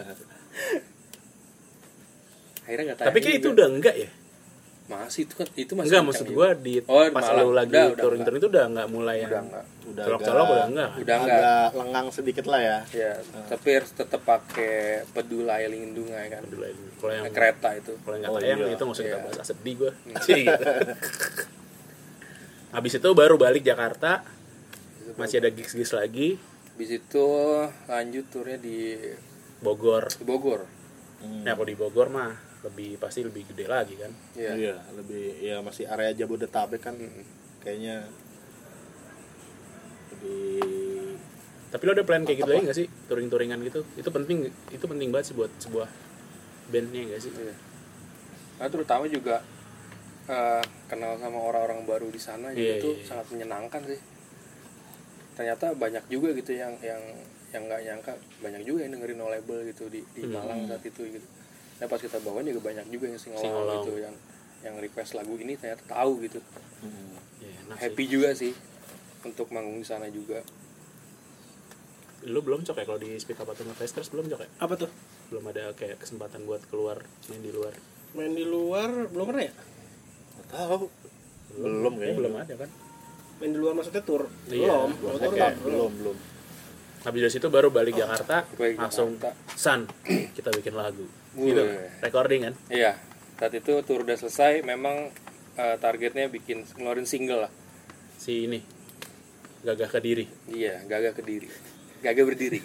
Speaker 4: Akhirnya nggak tayang
Speaker 1: tapi kayak itu
Speaker 4: juga.
Speaker 1: udah enggak ya
Speaker 4: masih itu kan itu masih
Speaker 1: enggak
Speaker 4: kencang
Speaker 1: maksud
Speaker 4: juga.
Speaker 1: gua di
Speaker 4: Oh,
Speaker 1: pas
Speaker 4: malah.
Speaker 1: lu lagi
Speaker 4: Udah, udah
Speaker 1: touring-touring itu udah enggak mulai
Speaker 4: udah
Speaker 1: yang
Speaker 4: enggak
Speaker 2: Udah
Speaker 1: colok-colok
Speaker 2: agak-
Speaker 1: udah enggak
Speaker 4: udah enggak
Speaker 2: agak lengang sedikit lah ya.
Speaker 4: ya
Speaker 1: Ah.
Speaker 4: tapi harus tetap pakai pedulai lindungai kan
Speaker 1: Dulu ini. kalau yang
Speaker 4: Nah, kereta itu
Speaker 1: kalau yang nggak
Speaker 2: Oh,
Speaker 1: tayang
Speaker 2: iya.
Speaker 1: itu nggak usah kita
Speaker 4: Iya.
Speaker 1: bahas Ah, sedih gue habis itu baru balik Jakarta masih ada gigs-gigs lagi
Speaker 4: habis itu lanjut turnya di
Speaker 1: Bogor
Speaker 4: di Bogor
Speaker 2: Hmm.
Speaker 1: ya kalau di Bogor mah lebih pasti lebih gede lagi kan
Speaker 4: ya
Speaker 2: Iya, lebih ya masih area Jabodetabek kan kayaknya lebih
Speaker 1: tapi lo ada plan kayak gitu
Speaker 2: Mantap
Speaker 1: lagi nggak sih touring-touringan gitu itu penting itu penting banget sih buat sebuah bandnya nggak sih
Speaker 4: Iya. nah terutama juga eh, kenal sama orang-orang baru di sana jadi
Speaker 1: Iya,
Speaker 4: itu
Speaker 1: iya, iya.
Speaker 4: sangat menyenangkan sih ternyata banyak juga gitu yang yang yang nggak nyangka banyak juga yang dengerin no label gitu di, di
Speaker 1: Hmm.
Speaker 4: Malang saat itu gitu nah pas kita bawain juga banyak juga yang
Speaker 1: Singolong.
Speaker 4: singolong gitu yang yang request lagu ini ternyata tahu gitu
Speaker 2: hmm,
Speaker 1: Ya, enak sih.
Speaker 4: happy juga sih untuk manggung di sana juga
Speaker 1: lo belum cok ya kalau di speak up atau Festers belum cok ya
Speaker 3: apa tuh
Speaker 1: belum ada kayak kesempatan buat keluar main di luar
Speaker 3: main di luar belum pernah ya
Speaker 2: nggak tahu belum
Speaker 4: Iya.
Speaker 1: kayaknya
Speaker 2: kayaknya
Speaker 1: belum ada kan
Speaker 3: main di luar maksudnya tur
Speaker 1: Iya,
Speaker 3: belum
Speaker 1: gua
Speaker 2: Belum,
Speaker 3: Kalau tur
Speaker 1: Oke.
Speaker 3: belum.
Speaker 2: belum belum
Speaker 1: habis dari situ baru balik Jakarta
Speaker 4: Oh, balik
Speaker 1: langsung
Speaker 4: Jakarta.
Speaker 1: San kita bikin lagu
Speaker 4: Wih.
Speaker 1: gitu recording kan
Speaker 4: iya saat itu tour udah selesai memang eh, targetnya bikin ngeluarin single lah
Speaker 1: si ini gagah kediri
Speaker 4: iya gagah kediri gagah berdiri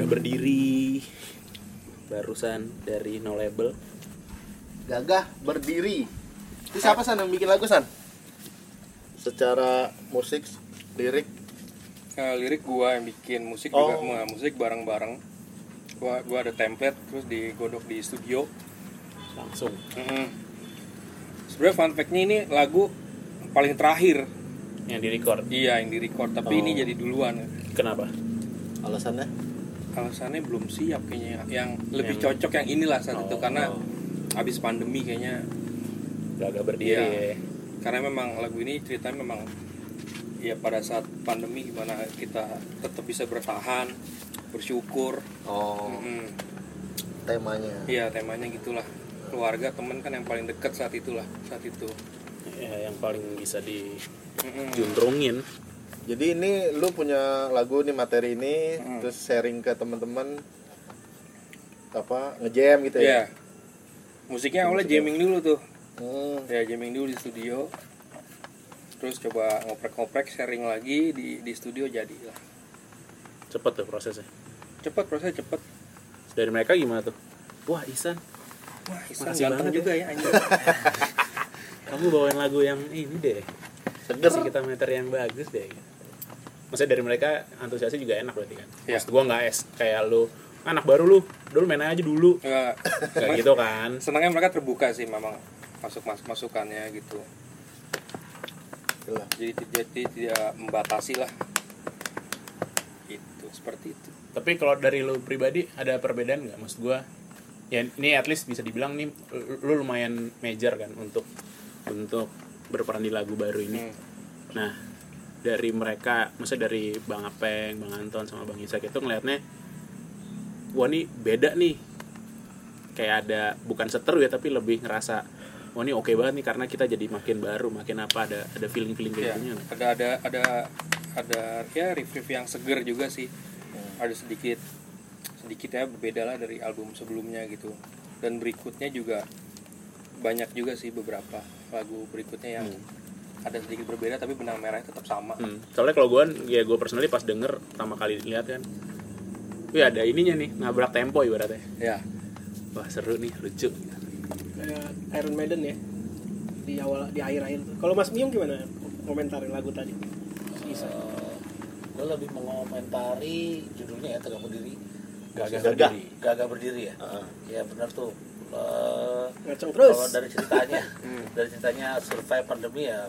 Speaker 8: kan ba,
Speaker 1: barusan dari No Label.
Speaker 9: Gagah berdiri. Itu siapa San yang bikin lagu San?
Speaker 2: secara musik lirik
Speaker 4: Eh, lirik gua yang bikin musik juga Nah, musik bareng-bareng gua gua ada template terus digodok di studio
Speaker 1: Langsung.
Speaker 4: Mhm. sebenarnya fun fact-nya ini lagu paling terakhir
Speaker 1: Yang direcord.
Speaker 4: iya yang direcord tapi ini jadi duluan
Speaker 1: Kenapa?
Speaker 2: alasannya
Speaker 4: alasannya belum siap kayaknya yang lebih cocok yang inilah saat itu karena habis pandemi kayaknya
Speaker 1: Gagah berdiri. ya.
Speaker 4: Iya. karena memang lagu ini ceritanya memang ya pada saat pandemi gimana kita tetap bisa bertahan bersyukur
Speaker 9: Oh,
Speaker 4: Mhm.
Speaker 9: temanya.
Speaker 4: Iya temanya gitulah keluarga temen kan yang paling dekat saat itulah saat itu
Speaker 1: Ya, yang paling bisa
Speaker 4: Mm-mm.
Speaker 1: dijuntrungin.
Speaker 2: jadi ini lu punya lagu nih materi ini
Speaker 9: Hmm.
Speaker 2: terus sharing ke teman-teman apa ngejam gitu ya
Speaker 4: Iya musiknya awalnya jamming dulu tuh
Speaker 2: Hmm,
Speaker 4: ya jamming dulu di studio terus coba ngoprek-ngoprek sharing lagi di di studio jadilah
Speaker 1: Cepet tuh prosesnya.
Speaker 4: cepet proses cepet
Speaker 1: Dari mereka gimana tuh? Wah Isan,
Speaker 4: wah Isan
Speaker 1: Makasih
Speaker 4: ganteng
Speaker 1: banget
Speaker 4: juga ya anjing
Speaker 1: kamu bawain lagu yang ini deh.
Speaker 2: seger
Speaker 1: Kasih kita meter yang bagus deh. Maksudnya dari mereka antusiasnya juga enak berarti kan?
Speaker 4: Iya.
Speaker 1: Maksud gua nggak es kayak lu "Ah, anak baru lu, dulu main aja dulu.
Speaker 4: Nggak,
Speaker 1: Gak
Speaker 4: Iya.
Speaker 1: gitu kan?
Speaker 4: senangnya mereka terbuka sih memang masuk masuk masukannya gitu
Speaker 2: Gila.
Speaker 4: jadi tidak tidak membatasi lah itu seperti itu
Speaker 1: Tapi kalau dari lu pribadi ada perbedaan nggak? Maksud gua ya ini at least bisa dibilang nih lu- lu lumayan major kan untuk untuk berperan di lagu baru ini.
Speaker 4: Hmm.
Speaker 1: Nah, dari mereka, maksudnya dari Bang Apeng, Bang Anton sama Bang Isak itu ngelihatnya wah nih beda nih. Kayak ada bukan seteru ya tapi lebih ngerasa wah ini oke banget nih karena kita jadi makin baru, makin apa ada ada feeling-feeling kayak
Speaker 4: Iya,
Speaker 1: gini. nggak?
Speaker 4: ada ada ada ada ya review yang seger juga sih. Ada sedikit sedikit ya berbeda lah dari album sebelumnya gitu. Dan berikutnya juga banyak juga sih beberapa lagu berikutnya yang ada sedikit berbeda tapi benang merahnya tetap sama.
Speaker 1: Hmm. Soalnya kalau gue, ya gue personally pas denger pertama kali lihat kan, wih ada ininya nih nabrak tempo ibaratnya.
Speaker 4: Ya,
Speaker 1: Wah seru nih, lucu.
Speaker 3: Kayak Iron Maiden ya di awal di akhir-akhir tuh. Kalau Mas Mium gimana komentarin lagu tadi? Bisa.
Speaker 5: gue lebih mengomentari judulnya ya tegak berdiri
Speaker 1: Gagah
Speaker 5: berdiri gagah berdiri ya
Speaker 9: Ah,
Speaker 5: ya benar tuh Eh,
Speaker 3: Ngaceng terus. Hmm.
Speaker 5: kalau dari ceritanya dari ceritanya survive pandemi ya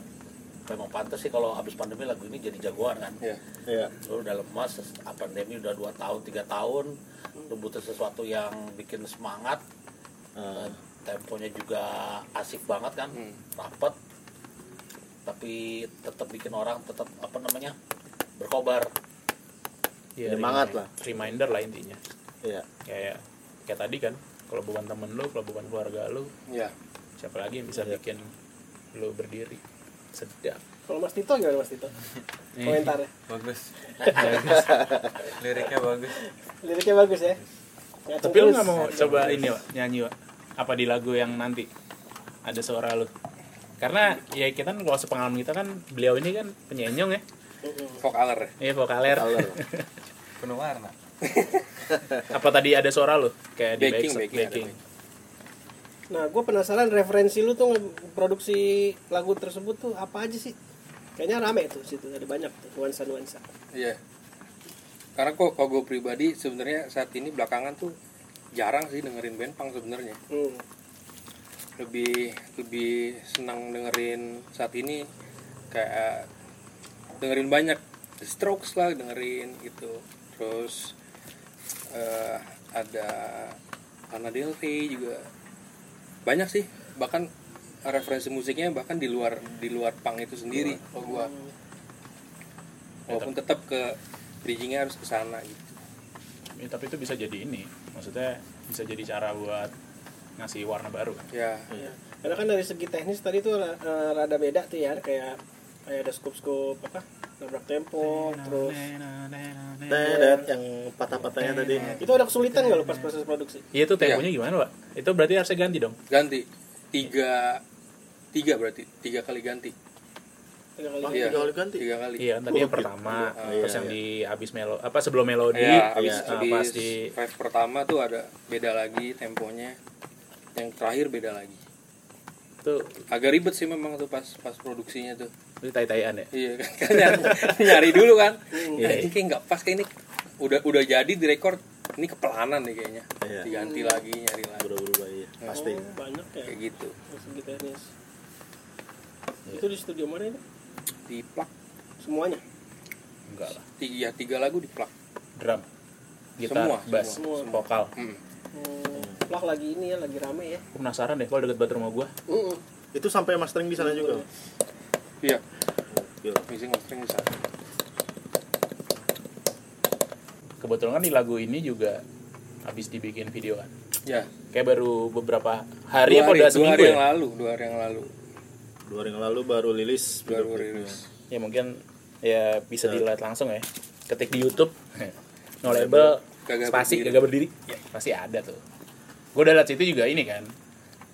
Speaker 5: memang pantas sih kalau habis pandemi lagu ini jadi jagoan kan
Speaker 4: ya.
Speaker 2: Iya.
Speaker 5: lu udah lemas ah, pandemi udah dua tahun tiga tahun lu butuh sesuatu yang bikin semangat
Speaker 2: Iya.
Speaker 5: Eh,
Speaker 2: Ah,
Speaker 5: temponya juga asik banget kan rapat tapi tetap bikin orang tetap apa namanya berkobar
Speaker 1: Ya,
Speaker 2: Semangat lah.
Speaker 1: Reminder lah intinya.
Speaker 2: Iya.
Speaker 1: Kayak kayak tadi kan, kalau bukan temen lu, kalau bukan keluarga lu,
Speaker 9: Iya.
Speaker 4: Ya.
Speaker 1: siapa lagi yang bisa bikin lu berdiri? Sedap.
Speaker 3: Kalau Mas Tito gimana Mas Tito? ya? Komentarnya.
Speaker 10: bagus liriknya bagus
Speaker 3: Liriknya bagus ya. Ngaceng
Speaker 1: Tapi lu
Speaker 3: terus.
Speaker 1: nggak mau coba ini Wak, nyanyi Wak? Apa di lagu yang nanti ada suara lu? Karena ya kita kan kalau sepengalaman kita kan beliau ini kan penyenyong ya,
Speaker 4: Vokaler.
Speaker 1: ya vokaler.
Speaker 10: penuh warna
Speaker 1: apa tadi ada suara lu kayak di
Speaker 4: Backing,
Speaker 1: back-
Speaker 4: backing, ada
Speaker 1: backing.
Speaker 3: Nah, gue penasaran referensi lu tuh produksi lagu tersebut tuh apa aja sih? Kayaknya rame tuh situ, ada banyak tuh nuansa-nuansa.
Speaker 4: Iya. Karena kok kok gue pribadi sebenarnya saat ini belakangan tuh jarang sih dengerin band punk sebenarnya.
Speaker 3: Hmm.
Speaker 4: lebih lebih senang dengerin saat ini kayak dengerin banyak The Strokes lah dengerin gitu terus eh, ada Lana Del Rey juga banyak sih bahkan referensi musiknya bahkan di luar di luar punk itu sendiri kalau gua
Speaker 3: Iya.
Speaker 4: walaupun tetap ke bridgingnya harus ke sana gitu
Speaker 1: Ya, tapi itu bisa jadi ini maksudnya bisa jadi cara buat ngasih warna baru kan
Speaker 4: ya
Speaker 3: Ya. Karena kan dari segi teknis tadi tuh ra- eh, rada beda tuh ya, kayak kayak ada scoop-scoop apa? Nabrak tempo, terus
Speaker 2: Tedet, yang patah-patahnya tadi Iya.
Speaker 3: itu ada kesulitan nggak lo pas proses produksi?
Speaker 1: iya itu temponya gimana pak itu berarti harusnya ganti dong
Speaker 4: ganti tiga tiga berarti tiga kali ganti
Speaker 3: tiga kali.
Speaker 2: Tiga kali ganti.
Speaker 4: tiga kali
Speaker 1: Iya, tadi
Speaker 4: Oh,
Speaker 1: yang
Speaker 4: gitu.
Speaker 1: pertama,
Speaker 4: Iya,
Speaker 1: terus yang di abis melo apa sebelum melodi,
Speaker 4: ya habis
Speaker 1: nah,
Speaker 4: habis
Speaker 1: pas di
Speaker 4: drive pertama tuh ada beda lagi temponya yang terakhir beda lagi
Speaker 1: itu
Speaker 4: agak ribet sih memang tuh pas pas produksinya tuh
Speaker 1: itu tai-taian ya.
Speaker 4: iya kan, kan nyari, nyari dulu kan
Speaker 1: Iya.
Speaker 4: nah, ini kayak nggak pas kayak ini udah udah jadi di record ini kepelanan nih kayaknya
Speaker 11: Iya.
Speaker 4: diganti lagi nyari lagi
Speaker 11: berubah-ubah iya.
Speaker 2: Pasti.
Speaker 3: Oh, banyak ya
Speaker 4: kayak gitu
Speaker 3: dari segi teknis. Itu di studio mana ini?
Speaker 4: di plak
Speaker 3: Semuanya.
Speaker 1: Enggak lah.
Speaker 4: tiga tiga lagu di plak
Speaker 1: Drum, gitar,
Speaker 4: Semua,
Speaker 1: bass,
Speaker 3: semua.
Speaker 1: vokal.
Speaker 4: hmm.
Speaker 3: Hmm, Plak lagi ini ya, lagi rame ya.
Speaker 1: Aku penasaran deh kalau deket banget rumah gua.
Speaker 3: Mm-mm.
Speaker 2: Itu sampai mastering di sana juga.
Speaker 4: iya
Speaker 2: Gokil.
Speaker 4: mixing mastering bisa
Speaker 1: Kebetulan kan di lagu ini juga habis dibikin video kan.
Speaker 4: ya
Speaker 1: Kayak baru beberapa hari
Speaker 4: dua
Speaker 1: apa
Speaker 4: hari,
Speaker 1: udah
Speaker 4: dua
Speaker 1: seminggu
Speaker 4: hari
Speaker 1: ya?
Speaker 4: yang lalu dua hari yang lalu
Speaker 2: Dua hari yang lalu baru rilis.
Speaker 4: baru
Speaker 2: video klipnya.
Speaker 4: rilis
Speaker 1: Ya mungkin ya bisa
Speaker 4: Nah.
Speaker 1: dilihat langsung ya. Ketik di YouTube. no label,
Speaker 4: Kagak
Speaker 1: spasi
Speaker 4: berdiri.
Speaker 1: kagak berdiri. Ya, pasti ada tuh. Gua udah lihat situ juga ini kan.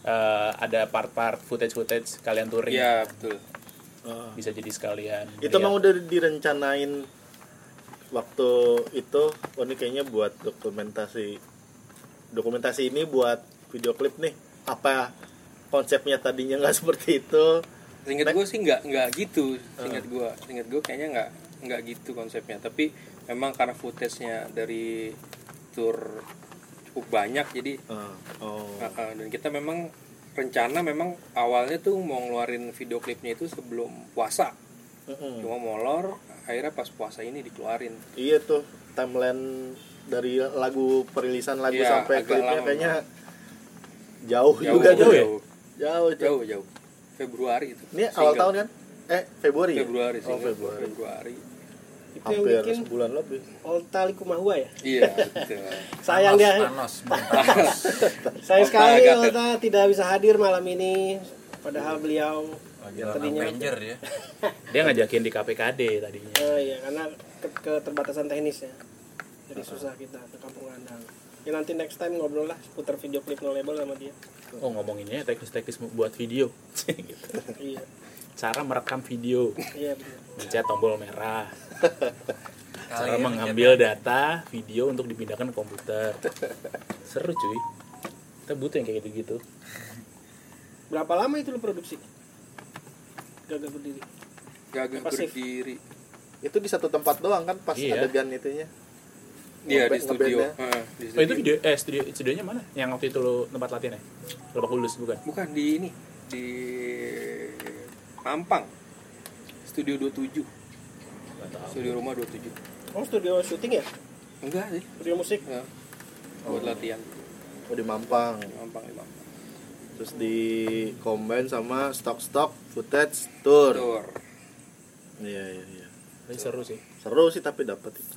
Speaker 1: eh, ada part-part footage-footage kalian touring.
Speaker 4: iya betul
Speaker 2: Ah.
Speaker 1: Bisa jadi sekalian. Iya.
Speaker 2: Itu
Speaker 4: Iya.
Speaker 2: emang udah direncanain waktu itu oh ini kayaknya buat dokumentasi dokumentasi ini buat video klip nih apa konsepnya tadinya nggak seperti itu
Speaker 4: Seingat gue sih nggak nggak gitu.
Speaker 2: Ah.
Speaker 4: Seingat gue, seingat gue kayaknya nggak nggak gitu konsepnya. Tapi memang karena footage-nya dari tour cukup banyak, jadi
Speaker 2: Ah, oh
Speaker 4: uh, uh, dan kita memang rencana memang awalnya tuh mau ngeluarin video klipnya itu sebelum puasa. ah.
Speaker 2: Mm-mm.
Speaker 4: Cuma molor, akhirnya pas puasa ini dikeluarin.
Speaker 2: iya tuh timeline dari lagu perilisan lagu
Speaker 4: Iya,
Speaker 2: sampai
Speaker 4: agak
Speaker 2: klipnya
Speaker 4: lama.
Speaker 2: kayaknya
Speaker 4: Jauh,
Speaker 2: jauh, juga Oh, tuh
Speaker 4: jauh, jauh,
Speaker 2: jauh jauh
Speaker 4: jauh, jauh. Februari itu.
Speaker 2: ini awal
Speaker 4: Single.
Speaker 2: tahun kan eh Februari ya?
Speaker 4: Februari
Speaker 2: oh
Speaker 4: single.
Speaker 2: Februari
Speaker 4: Februari.
Speaker 3: Itu yang
Speaker 2: hampir
Speaker 3: bikin
Speaker 2: sebulan lebih
Speaker 3: Olta Likumahua ya.
Speaker 4: Iya, betul.
Speaker 3: Sayang dia,
Speaker 12: Panos, panos.
Speaker 4: Olta
Speaker 3: sayang sekali
Speaker 4: agak-
Speaker 3: Olta tidak bisa hadir malam ini. Padahal beliau
Speaker 12: Lagi
Speaker 3: yang
Speaker 12: lawan
Speaker 3: tadinya
Speaker 12: Avenger ya.
Speaker 1: dia ngajakin di KPKD tadinya.
Speaker 3: Eh, iya, karena ke- keterbatasan teknis ya. Jadi susah kita ke kampung Andang. Ya nanti next time ngobrol lah putar video klip no label sama dia.
Speaker 1: Oh ngomonginnya teknis-teknis buat video. Gitu.
Speaker 3: iya,
Speaker 1: Cara merekam video,
Speaker 3: iya benar.
Speaker 1: mencet tombol merah. Cara
Speaker 12: Kalian
Speaker 1: mengambil data video untuk dipindahkan ke komputer. Seru cuy. Kita butuh yang kayak gitu-gitu.
Speaker 3: Berapa lama itu lu produksi? Gagal berdiri.
Speaker 4: Gagah
Speaker 3: Pasif.
Speaker 4: berdiri.
Speaker 2: itu di satu tempat doang kan pas
Speaker 1: Iya.
Speaker 2: adegan itunya
Speaker 4: Iya di
Speaker 2: Ngeband-
Speaker 4: studio.
Speaker 2: ngebandnya.
Speaker 4: Heeh, di
Speaker 1: Oh itu
Speaker 4: studio.
Speaker 1: video eh studio studionya mana? Yang waktu itu lo tempat latihan ya? Lebak Bulus bukan?
Speaker 4: Bukan di ini di Mampang. Studio 27. Studio rumah 27.
Speaker 3: Oh studio syuting ya?
Speaker 4: Enggak sih.
Speaker 3: Studio musik?
Speaker 4: Enggak. Buat latihan
Speaker 2: oh di Mampang
Speaker 4: di Mampang di Mampang.
Speaker 2: terus di combine sama stock-stock footage tour
Speaker 4: Tur.
Speaker 2: iya iya iya
Speaker 1: Tapi seru sih.
Speaker 2: seru sih tapi dapat itu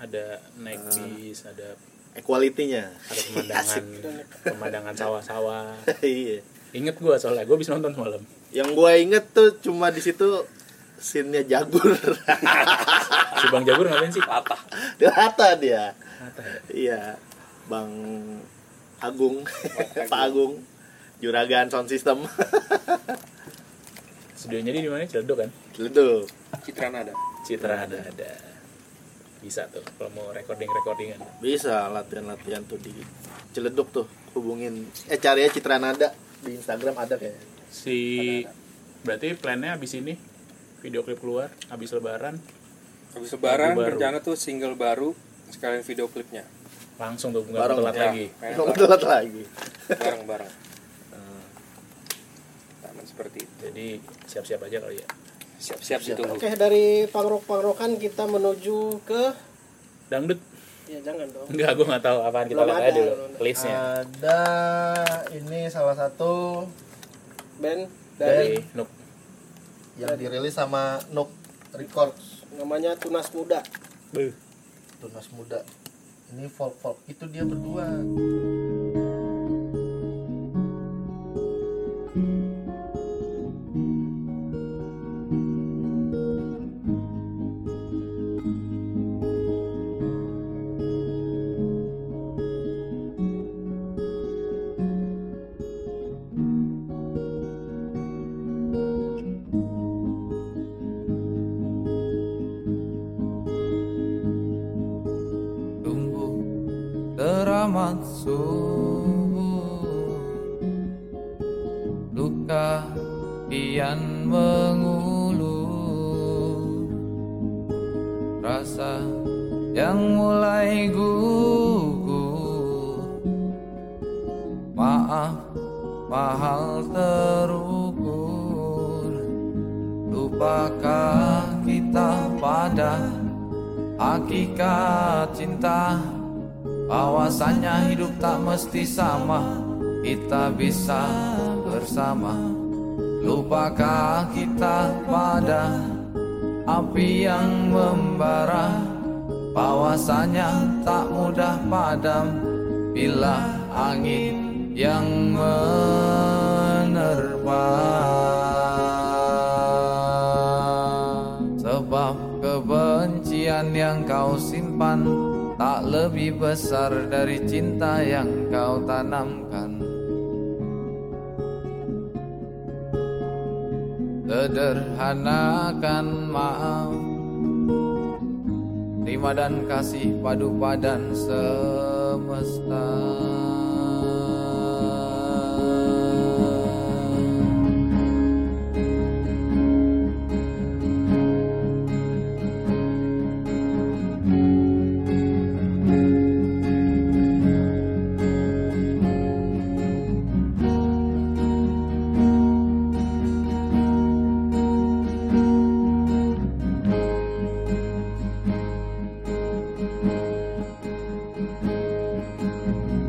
Speaker 2: Eh,
Speaker 1: Ada naik bis, ada
Speaker 2: equality-nya
Speaker 1: ada pemandangan pemandangan sawah-sawah.
Speaker 2: iya
Speaker 1: Ingat gua soalnya gua bisa nonton malam.
Speaker 2: yang gua inget tuh cuma di situ scene-nya jagur
Speaker 1: Si Bang Jagur ngapain sih?
Speaker 2: dilata dia iya bang Agung Pak Agung juragan sound system
Speaker 1: Studionya di mana? Ciledug kan?
Speaker 2: Ledup.
Speaker 4: Citra Nada.
Speaker 1: Citra ada ada bisa tuh kalau mau recording recordingan
Speaker 2: bisa latihan-latihan tuh di Ciledug tuh hubungin eh cari aja Citra Nada di Instagram ada kayaknya
Speaker 1: si berarti plannya abis ini video klip keluar abis lebaran
Speaker 4: Habis lebaran
Speaker 1: Lagu baru.
Speaker 4: rencana tuh single baru sekalian video klipnya.
Speaker 1: langsung tuh nggak
Speaker 2: Bareng,
Speaker 1: telat
Speaker 4: Ya,
Speaker 1: lagi
Speaker 4: main
Speaker 2: Nggak telat lagi
Speaker 4: bareng-bareng. Taman seperti itu.
Speaker 1: jadi siap-siap aja kali ya
Speaker 4: Siap-siap ditunggu.
Speaker 3: Oke dari pangrok-pangrokan kita menuju ke
Speaker 1: dangdut
Speaker 3: ya jangan dong.
Speaker 1: nggak gue nggak tahu apaan kita
Speaker 3: Belum
Speaker 1: lihat
Speaker 3: ada,
Speaker 1: aja dulu
Speaker 3: belum ada. Ah,
Speaker 1: listnya
Speaker 13: Ada ini salah satu
Speaker 3: Band dari
Speaker 1: dari Nuk
Speaker 13: yang dirilis sama Nook Records
Speaker 3: namanya Tunas Muda.
Speaker 13: Tunas Muda. Ini folk folk itu dia berdua.
Speaker 14: Selamat subuh Luka pian mengulur Rasa yang mulai gugur Maaf mahal terukur Lupakah kita pada hakikat cinta Bahwasannya hidup tak mesti sama Kita bisa bersama Lupakah kita pada api yang membara Bahwasannya tak mudah padam Bila angin yang menerpa Sebab kebencian yang kau simpan tak lebih besar dari cinta yang kau tanamkan. Sederhanakan maaf, terima dan kasih padu padan semesta.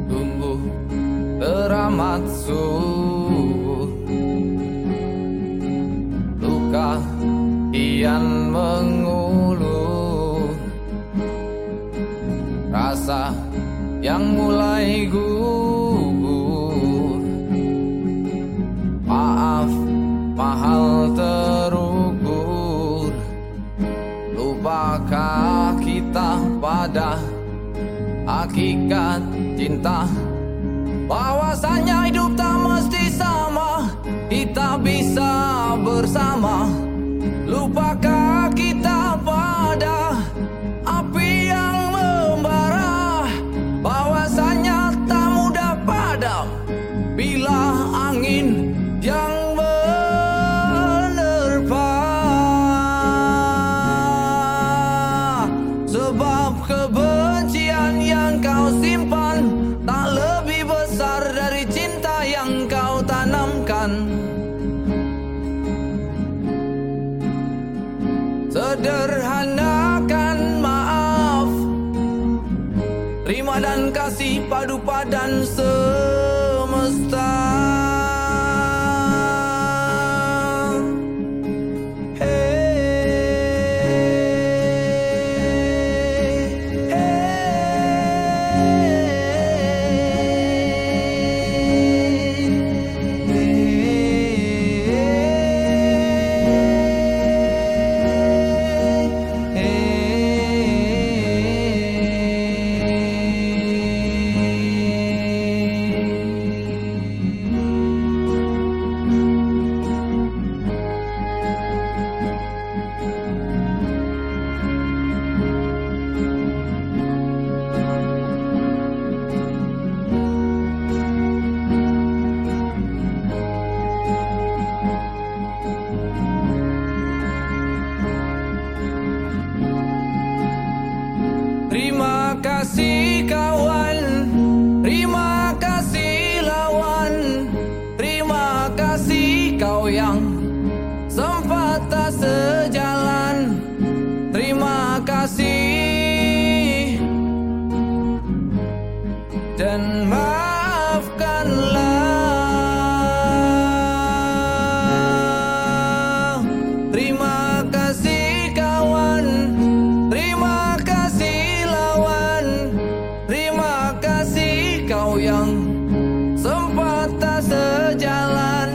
Speaker 14: Sungguh teramat subuh Luka kian mengulur Rasa yang mulai gugur Maaf mahal terukur Lupakah kita pada hakikat cinta Bahwasanya hidup tak mesti sama Kita bisa bersama Lupakah kita pada api yang membara Bahwasanya tak mudah padam Bila angin yang menerpa Sebab kebencian yang kau simpan Tak lebih besar dari cinta yang kau tanamkan Sederhanakan maaf Terima dan kasih padu padan semesta Terima kasih kawan Terima kasih lawan Terima kasih kau yang Sempat tak sejalan Terima kasih Dan maafkanlah Terima kasih kawan Terima kasih lawan Terima kasih kau yang Sempat tak sejalan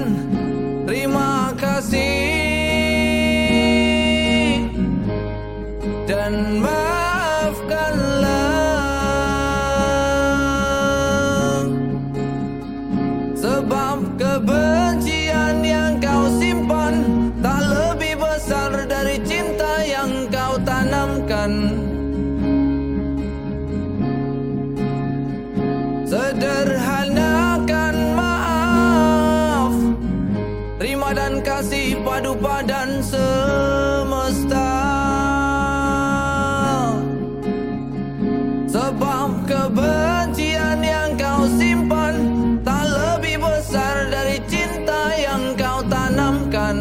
Speaker 14: Terima kasih Dan maaf
Speaker 15: padu padan semesta Sebab kebencian yang kau simpan Tak lebih besar dari cinta yang kau tanamkan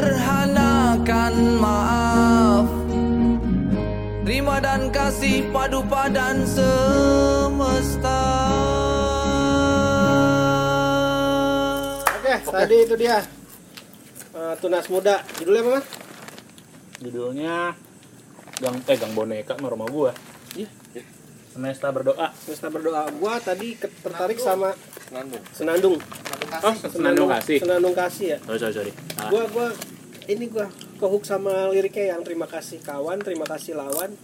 Speaker 15: Sederhanakan maaf Terima dan kasih padu padan semesta
Speaker 3: Oke, tadi itu dia. Eh, tunas muda. Judulnya apa, Mas?
Speaker 1: Judulnya Gang eh Gang Boneka sama rumah gua.
Speaker 3: Iya.
Speaker 1: Semesta berdoa.
Speaker 3: Semesta berdoa. Gua tadi ke- tertarik sama
Speaker 4: Nandung.
Speaker 3: Senandung.
Speaker 1: Oh, Senandung kasih.
Speaker 3: Senandung kasih ya.
Speaker 1: Sorry, sorry, Ah, sorry. Salah.
Speaker 3: Gua gua ini gua kehook sama liriknya yang terima kasih kawan, terima kasih lawan.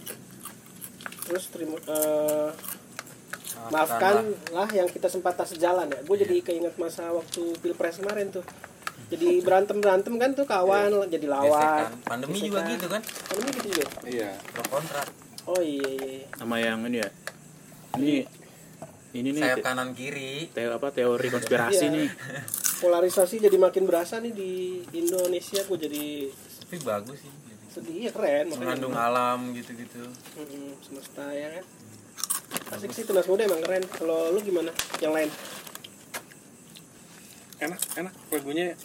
Speaker 3: Terus terima eh, maafkan lah yang kita sempat tak sejalan ya. Gue
Speaker 16: Iya.
Speaker 3: jadi keinget masa waktu pilpres kemarin tuh. Jadi berantem berantem kan tuh kawan jadi lawan.
Speaker 16: Iya. Gesekan. Pandemi juga
Speaker 3: Gesekan.
Speaker 16: gitu kan?
Speaker 3: Pandemi gitu juga.
Speaker 4: Iya.
Speaker 16: Pro kontra.
Speaker 3: Oh iya, iya.
Speaker 1: Sama yang ini ya. Ini ini nih
Speaker 16: Sayap kanan kiri.
Speaker 1: te- apa teori konspirasi
Speaker 3: Iya.
Speaker 1: nih.
Speaker 3: polarisasi jadi makin berasa nih di Indonesia gue jadi
Speaker 16: Tapi bagus sih. jadi.
Speaker 3: sedih ya keren
Speaker 16: Mengandung alam gitu-gitu. Hmm.
Speaker 3: Mm, semesta ya kan asik sih tunas muda emang keren kalau lu gimana yang lain
Speaker 4: enak enak lagunya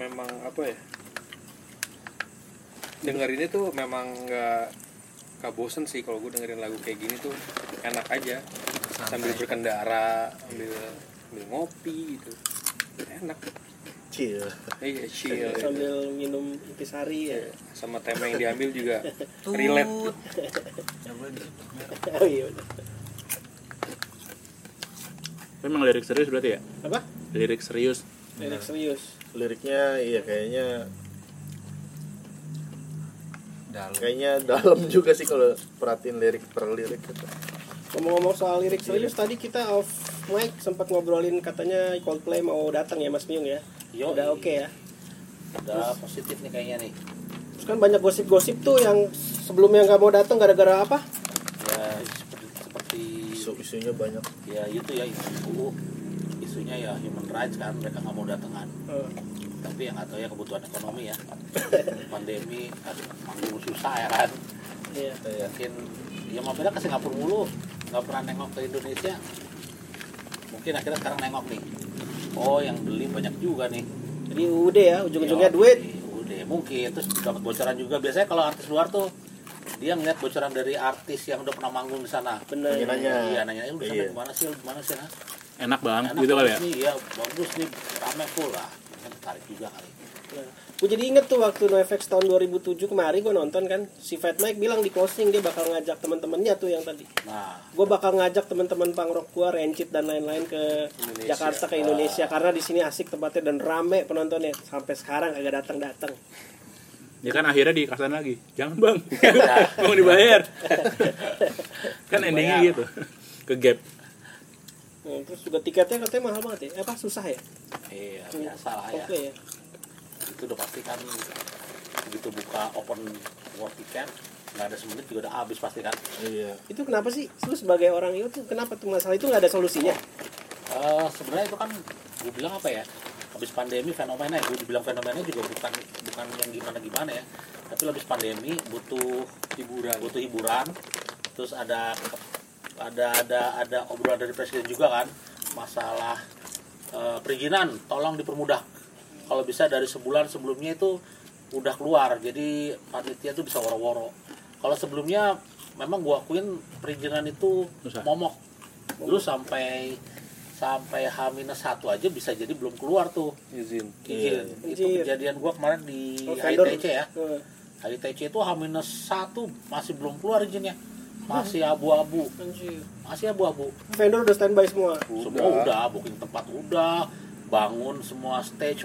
Speaker 4: memang apa ya dengerinnya tuh memang nggak nggak bosen sih kalau gue dengerin lagu kayak gini tuh enak aja sambil berkendara sambil sambil ngopi gitu enak
Speaker 2: Cil.
Speaker 4: iya chill gitu.
Speaker 3: sambil minum intisari ya
Speaker 4: sama tema yang diambil juga relate
Speaker 3: oh iya bener.
Speaker 1: Memang lirik serius berarti ya?
Speaker 3: apa
Speaker 1: Lirik serius.
Speaker 16: Iya.
Speaker 3: lirik serius
Speaker 2: Liriknya iya kayaknya
Speaker 16: Dalam.
Speaker 2: kayaknya dalam juga sih kalau perhatiin lirik per lirik gitu.
Speaker 3: ngomong-ngomong soal lirik
Speaker 16: Iya.
Speaker 3: serius tadi kita off mic sempat ngobrolin katanya Coldplay mau datang ya Mas Miung ya
Speaker 5: Yo,
Speaker 3: udah oke ya
Speaker 5: Udah positif nih kayaknya nih.
Speaker 3: terus kan banyak gosip-gosip tuh yang sebelumnya nggak mau datang gara-gara apa
Speaker 5: Ya seperti, seperti
Speaker 2: Isu-isunya banyak.
Speaker 5: ya itu ya isu isunya ya human rights kan mereka nggak mau datangan.
Speaker 4: Hmm.
Speaker 3: Eh,
Speaker 5: Tapi yang nggak tahu ya kebutuhan ekonomi ya. Pandemi kan manggung susah ya kan.
Speaker 3: iya
Speaker 5: Mungkin ya mau pindah ke Singapura mulu nggak pernah nengok ke Indonesia. Mungkin akhirnya sekarang nengok nih. Oh yang beli banyak juga nih.
Speaker 3: jadi udah ya ujung-ujungnya
Speaker 5: Yo,
Speaker 3: duit
Speaker 5: iya, udah mungkin terus dapat bocoran juga biasanya kalau artis luar tuh dia ngeliat bocoran dari artis yang udah pernah manggung di sana
Speaker 3: bener
Speaker 2: Nanya-nanya.
Speaker 5: iya nanya lu di sana
Speaker 2: Iya.
Speaker 5: gimana sih lu gimana sih nah
Speaker 1: Enak banget
Speaker 5: Enak
Speaker 1: gitu kali ya.
Speaker 5: bagus nih, iya bagus nih rame full lah Mungkin tertarik juga kali
Speaker 3: Gue jadi inget tuh waktu NoFX tahun 2007 kemarin gue nonton kan Si Fat Mike bilang di closing dia bakal ngajak teman-temannya tuh yang tadi
Speaker 5: nah
Speaker 3: Gue bakal ngajak teman-teman pangrok gue Rencit dan lain-lain ke
Speaker 5: Ah.
Speaker 3: Jakarta ke Indonesia Karena di sini asik tempatnya dan rame penontonnya Sampai sekarang agak datang-datang
Speaker 1: Ya kan akhirnya dikasih lagi. Jangan bang, mau dibayar. kan endingnya
Speaker 5: Dibayar.
Speaker 1: gitu. Ke gap.
Speaker 3: Nah, Terus juga tiketnya katanya mahal banget ya Eh, Apa susah ya?
Speaker 5: iya biasa lah ya
Speaker 3: Oke ya
Speaker 5: itu udah pasti kan begitu buka open world ticket nggak ada semenit juga udah habis pasti kan
Speaker 2: Iya.
Speaker 3: Itu kenapa sih? Lu sebagai orang itu kenapa tuh masalah itu nggak ada solusinya?
Speaker 5: Eh, sebenarnya itu kan gue bilang apa ya habis pandemi fenomena ya gue bilang fenomena juga bukan bukan yang gimana gimana ya tapi habis pandemi butuh hiburan butuh hiburan terus ada ada ada ada obrolan dari presiden juga kan masalah eh, perizinan tolong dipermudah kalau bisa dari sebulan sebelumnya itu udah keluar jadi panitia tuh bisa woro-woro kalau sebelumnya memang gua akuin perizinan itu
Speaker 1: Susah.
Speaker 5: momok dulu sampai sampai H-1 aja bisa jadi belum keluar tuh
Speaker 4: izin
Speaker 5: izin.
Speaker 4: Iya.
Speaker 17: Iya.
Speaker 5: Itu
Speaker 3: Izin.
Speaker 5: kejadian gua kemarin di
Speaker 3: Iya. Oh, vendor.
Speaker 5: HITC ya.
Speaker 3: Eh,
Speaker 5: HITC itu H-1 masih belum keluar izinnya. Masih abu-abu,
Speaker 3: anjir.
Speaker 5: masih abu-abu.
Speaker 3: Vendor udah standby semua
Speaker 5: Semua udah booking tempat udah, bangun semua stage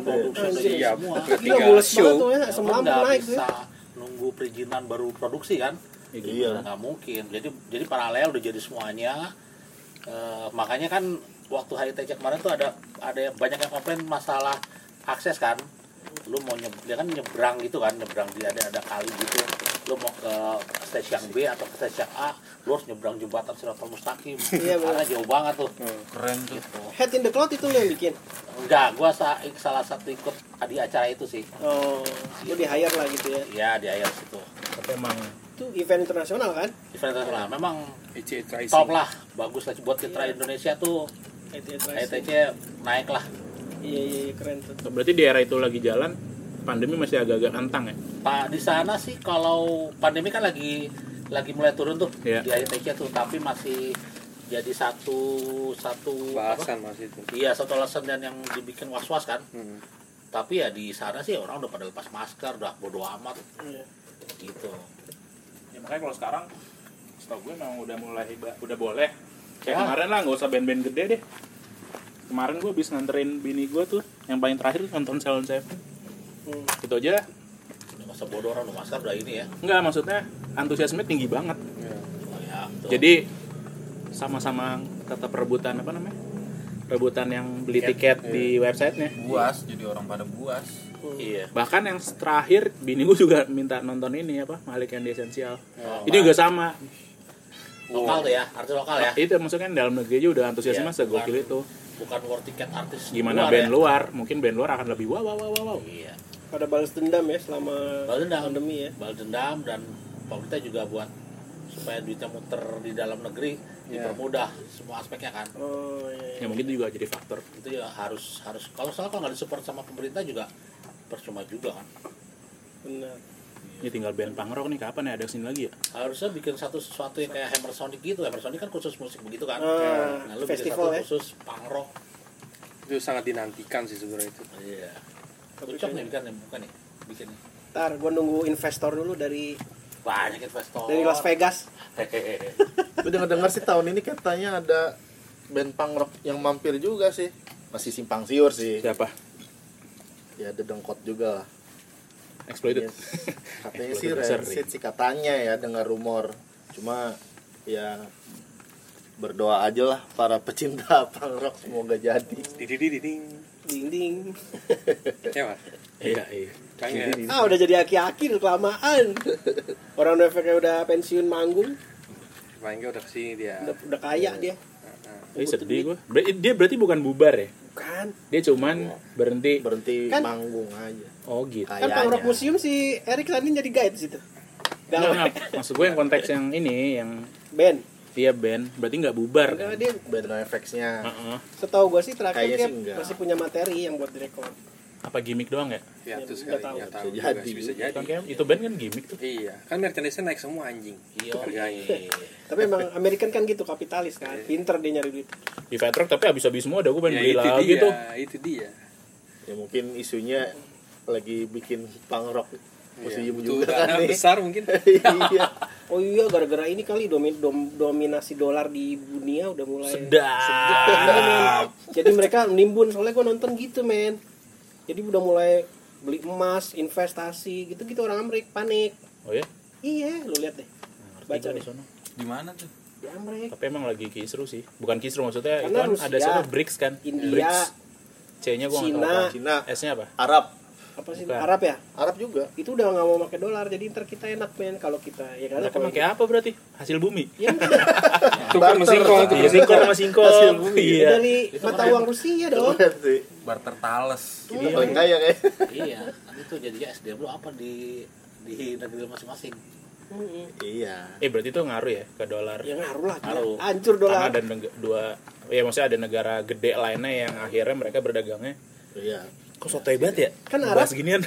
Speaker 5: udah,
Speaker 2: udah.
Speaker 5: produksi udah
Speaker 3: Anjir.
Speaker 5: jadi semua.
Speaker 3: Gila
Speaker 4: Tiga
Speaker 3: mules banget
Speaker 4: show.
Speaker 3: tuh ya
Speaker 5: Tapi
Speaker 3: Semalam
Speaker 5: Iya, nggak
Speaker 3: naik tuh ya.
Speaker 5: bisa nunggu perizinan baru produksi kan?
Speaker 2: Iya.
Speaker 5: Nah, nggak mungkin jadi jadi paralel udah jadi semuanya Eh, makanya kan waktu HITC kemarin tuh ada ada yang- banyak yang komplain masalah akses kan lu mau nyeb, dia kan nyebrang gitu kan nyebrang dia ada ada kali gitu lu mau ke stasiun B atau ke stasiun A lu harus nyebrang jembatan Siratul Mustaqim
Speaker 3: Iya, benar.
Speaker 5: karena jauh banget tuh
Speaker 17: keren tuh
Speaker 3: Head in the Cloud itu lo yang bikin.
Speaker 5: enggak gua sa- salah satu ikut di acara itu sih
Speaker 3: Oh, lo di hire lah gitu ya.
Speaker 5: Iya di air situ
Speaker 2: tapi emang
Speaker 3: Itu event internasional kan?
Speaker 5: event internasional memang
Speaker 4: IC tracing.
Speaker 5: top lah bagus lah buat citra Indonesia tuh
Speaker 3: ITC Rising.
Speaker 5: ETC naik lah
Speaker 3: Iya iya iya, keren tuh.
Speaker 1: Berarti di era itu lagi jalan, pandemi masih agak-agak antang ya.
Speaker 5: Pak di sana sih kalau pandemi kan lagi lagi mulai turun tuh
Speaker 1: Iya.
Speaker 5: di ITC tuh tapi masih jadi satu satu apa?
Speaker 4: bahasan masih itu
Speaker 5: Iya satu alasan dan yang dibikin was was kan.
Speaker 4: Hmm.
Speaker 5: Tapi ya di sana sih orang udah pada lepas masker, udah bodo amat
Speaker 3: Iya.
Speaker 5: gitu.
Speaker 1: ya makanya kalau sekarang setahu gue memang udah mulai ba- udah boleh kayak
Speaker 5: Ya.
Speaker 1: kemarin lah nggak usah band-band gede deh kemarin gue habis nganterin bini gue tuh yang paling terakhir nonton Salon Seven
Speaker 3: Hmm.
Speaker 1: gitu aja
Speaker 5: Udah masa bodo orang udah masker udah ini ya.
Speaker 1: nggak maksudnya antusiasme tinggi banget
Speaker 17: Iya.
Speaker 5: Oh, ya betul.
Speaker 1: jadi sama-sama kata perebutan apa namanya perebutan yang beli tiket di websitenya
Speaker 17: buas jadi orang pada buas
Speaker 5: iya.
Speaker 1: bahkan yang terakhir bini gue juga minta nonton ini apa Malik yang di esensial
Speaker 5: Oh,
Speaker 1: Iya. ini juga Iya. sama
Speaker 5: lokal tuh ya, artis lokal ya.
Speaker 1: itu maksudnya dalam negeri aja udah antusiasme
Speaker 5: Iya,
Speaker 1: segokil
Speaker 5: bukan-
Speaker 1: itu
Speaker 5: Bukan war tiket artis.
Speaker 1: gimana
Speaker 5: luar
Speaker 1: band
Speaker 5: ya.
Speaker 1: luar mungkin band luar akan lebih wow wow wow wow, wow.
Speaker 5: Iya.
Speaker 3: Pada balas dendam ya selama
Speaker 5: Balas dendam.
Speaker 3: pandemi ya.
Speaker 5: Bal dendam dan pemerintah juga buat supaya duitnya muter di dalam negeri
Speaker 3: Iya.
Speaker 5: dipermudah semua aspeknya kan.
Speaker 3: Oh
Speaker 1: ya
Speaker 3: iya. iya.
Speaker 1: mungkin itu juga jadi faktor
Speaker 5: Itu ya harus harus kalau salah kalau nggak disupport sama pemerintah juga percuma juga kan.
Speaker 3: Benar.
Speaker 1: ini tinggal band punk rock nih kapan ya ada kesini lagi ya
Speaker 5: harusnya bikin satu sesuatu yang kayak Hammer Sonic gitu Hammer Sonic kan khusus musik begitu kan
Speaker 3: Ah,
Speaker 5: nah lu bikin
Speaker 3: festival
Speaker 5: satu
Speaker 3: ya.
Speaker 5: khusus punk rock
Speaker 4: itu sangat dinantikan sih sebenarnya itu
Speaker 5: iya
Speaker 3: Tapi
Speaker 5: Ucok nih
Speaker 3: kayaknya-
Speaker 5: bukan nih bukan nih bikin
Speaker 3: Ntar gua nunggu investor dulu dari
Speaker 5: banyak investor
Speaker 3: dari Las Vegas.
Speaker 5: Hehehe.
Speaker 2: gue denger dengar sih tahun ini katanya ada band punk rock yang mampir juga sih masih simpang siur sih
Speaker 1: siapa
Speaker 2: ya ada dengkot juga lah
Speaker 1: exploited
Speaker 2: Yes. katanya sih
Speaker 1: Produser
Speaker 2: Rancid sih katanya ya dengar rumor cuma ya berdoa aja lah para pecinta punk rock semoga jadi
Speaker 4: didididing
Speaker 3: Ding ding.
Speaker 4: ya kan
Speaker 1: iya iya
Speaker 4: kayaknya
Speaker 3: Ah udah jadi aki-aki udah kelamaan. Orang udah kayak udah pensiun manggung,
Speaker 4: paling nggak udah kesini dia
Speaker 3: udah, udah kaya dia.
Speaker 1: Ih, sedih gue dia berarti bukan bubar ya
Speaker 3: Bukan.
Speaker 1: dia cuman berhenti
Speaker 2: berhenti
Speaker 3: Kan-
Speaker 2: manggung aja
Speaker 1: oh gitu
Speaker 3: Kan
Speaker 2: kayaknya
Speaker 3: Pang Rock Museum si Erik tadi jadi guide di situ.
Speaker 1: Enggak,
Speaker 3: Gak
Speaker 1: enggak. maksud gue yang konteks yang ini yang
Speaker 3: band.
Speaker 1: dia band berarti nggak bubar kan
Speaker 3: Enggak dia
Speaker 2: band effects-nya
Speaker 1: Heeh.
Speaker 3: setahu gua sih terakhir
Speaker 2: Kayaknya
Speaker 3: dia
Speaker 2: sih enggak.
Speaker 3: masih punya materi yang buat direkod.
Speaker 1: apa gimmick doang ya
Speaker 4: ya itu
Speaker 3: Nggak
Speaker 4: sekali
Speaker 3: tahu.
Speaker 4: nggak tahu
Speaker 2: Bisa
Speaker 4: juga
Speaker 2: jadi.
Speaker 4: sih, bisa jadi
Speaker 1: Kan kayak- itu band kan gimmick tuh
Speaker 4: iya kan merchandise naik semua anjing
Speaker 5: iya
Speaker 4: harganya
Speaker 3: Tapi emang American kan gitu kapitalis kan,
Speaker 2: Iya.
Speaker 3: pinter dia nyari duit.
Speaker 1: di Fat Rock tapi habis-habis semua udah gue pengen
Speaker 4: ya
Speaker 1: beli
Speaker 4: itu
Speaker 1: lagi
Speaker 4: dia
Speaker 1: tuh
Speaker 4: itu dia
Speaker 2: ya mungkin isunya lagi bikin punk rock
Speaker 4: Iya,
Speaker 2: museum
Speaker 4: butuh
Speaker 2: juga
Speaker 4: dana
Speaker 2: kan nih
Speaker 4: besar mungkin
Speaker 2: iya
Speaker 3: Oh iya gara-gara ini kali domi- dom- dominasi dolar di dunia udah mulai Gitu,
Speaker 1: sedap
Speaker 3: Jadi mereka nimbun soalnya gua nonton gitu men. Jadi udah mulai beli emas, investasi gitu-gitu orang Amerik panik.
Speaker 1: oh ya
Speaker 3: Iya, lu lihat deh. Baca deh.
Speaker 17: di mana tuh
Speaker 3: Di Amerik,
Speaker 1: tapi emang lagi kisru sih bukan kisru maksudnya
Speaker 3: Karena
Speaker 1: itu kan
Speaker 3: Rusia,
Speaker 1: ada siapa BRICS kan
Speaker 3: India,
Speaker 1: BRICS C nya gue nggak tahu
Speaker 3: Cina.
Speaker 1: apa
Speaker 2: Cina
Speaker 1: S nya apa
Speaker 2: Arab
Speaker 3: apa sih
Speaker 1: Bukan.
Speaker 3: Arab ya?
Speaker 2: Arab juga
Speaker 3: Itu udah nggak mau pakai dolar, jadi ntar kita enak men kalau kita ya karena
Speaker 1: mereka
Speaker 3: kalau
Speaker 1: pakai apa berarti hasil bumi
Speaker 3: Ya,
Speaker 4: tukar mesingkong
Speaker 1: Iya, singkong sama singkong
Speaker 2: Hasil bumi.
Speaker 1: iya
Speaker 3: dari mata uang Rusia dong.
Speaker 2: keren sih
Speaker 17: barter tales
Speaker 2: kita paling kaya kayak
Speaker 5: iya kan itu jadinya SDM lu apa di di negeri lu masing-masing
Speaker 3: Mm-mm.
Speaker 2: iya
Speaker 1: eh berarti itu ngaruh ya ke dolar
Speaker 3: Ya ngaruh lah, gila.
Speaker 5: Ngaruh.
Speaker 3: hancur
Speaker 1: karena
Speaker 3: dolar.
Speaker 1: ada neg- dua ya maksudnya ada negara gede lainnya yang akhirnya mereka berdagangnya
Speaker 2: iya
Speaker 1: kok soto hebat ya
Speaker 3: Kan
Speaker 1: Bahas
Speaker 3: Arab.
Speaker 1: ginian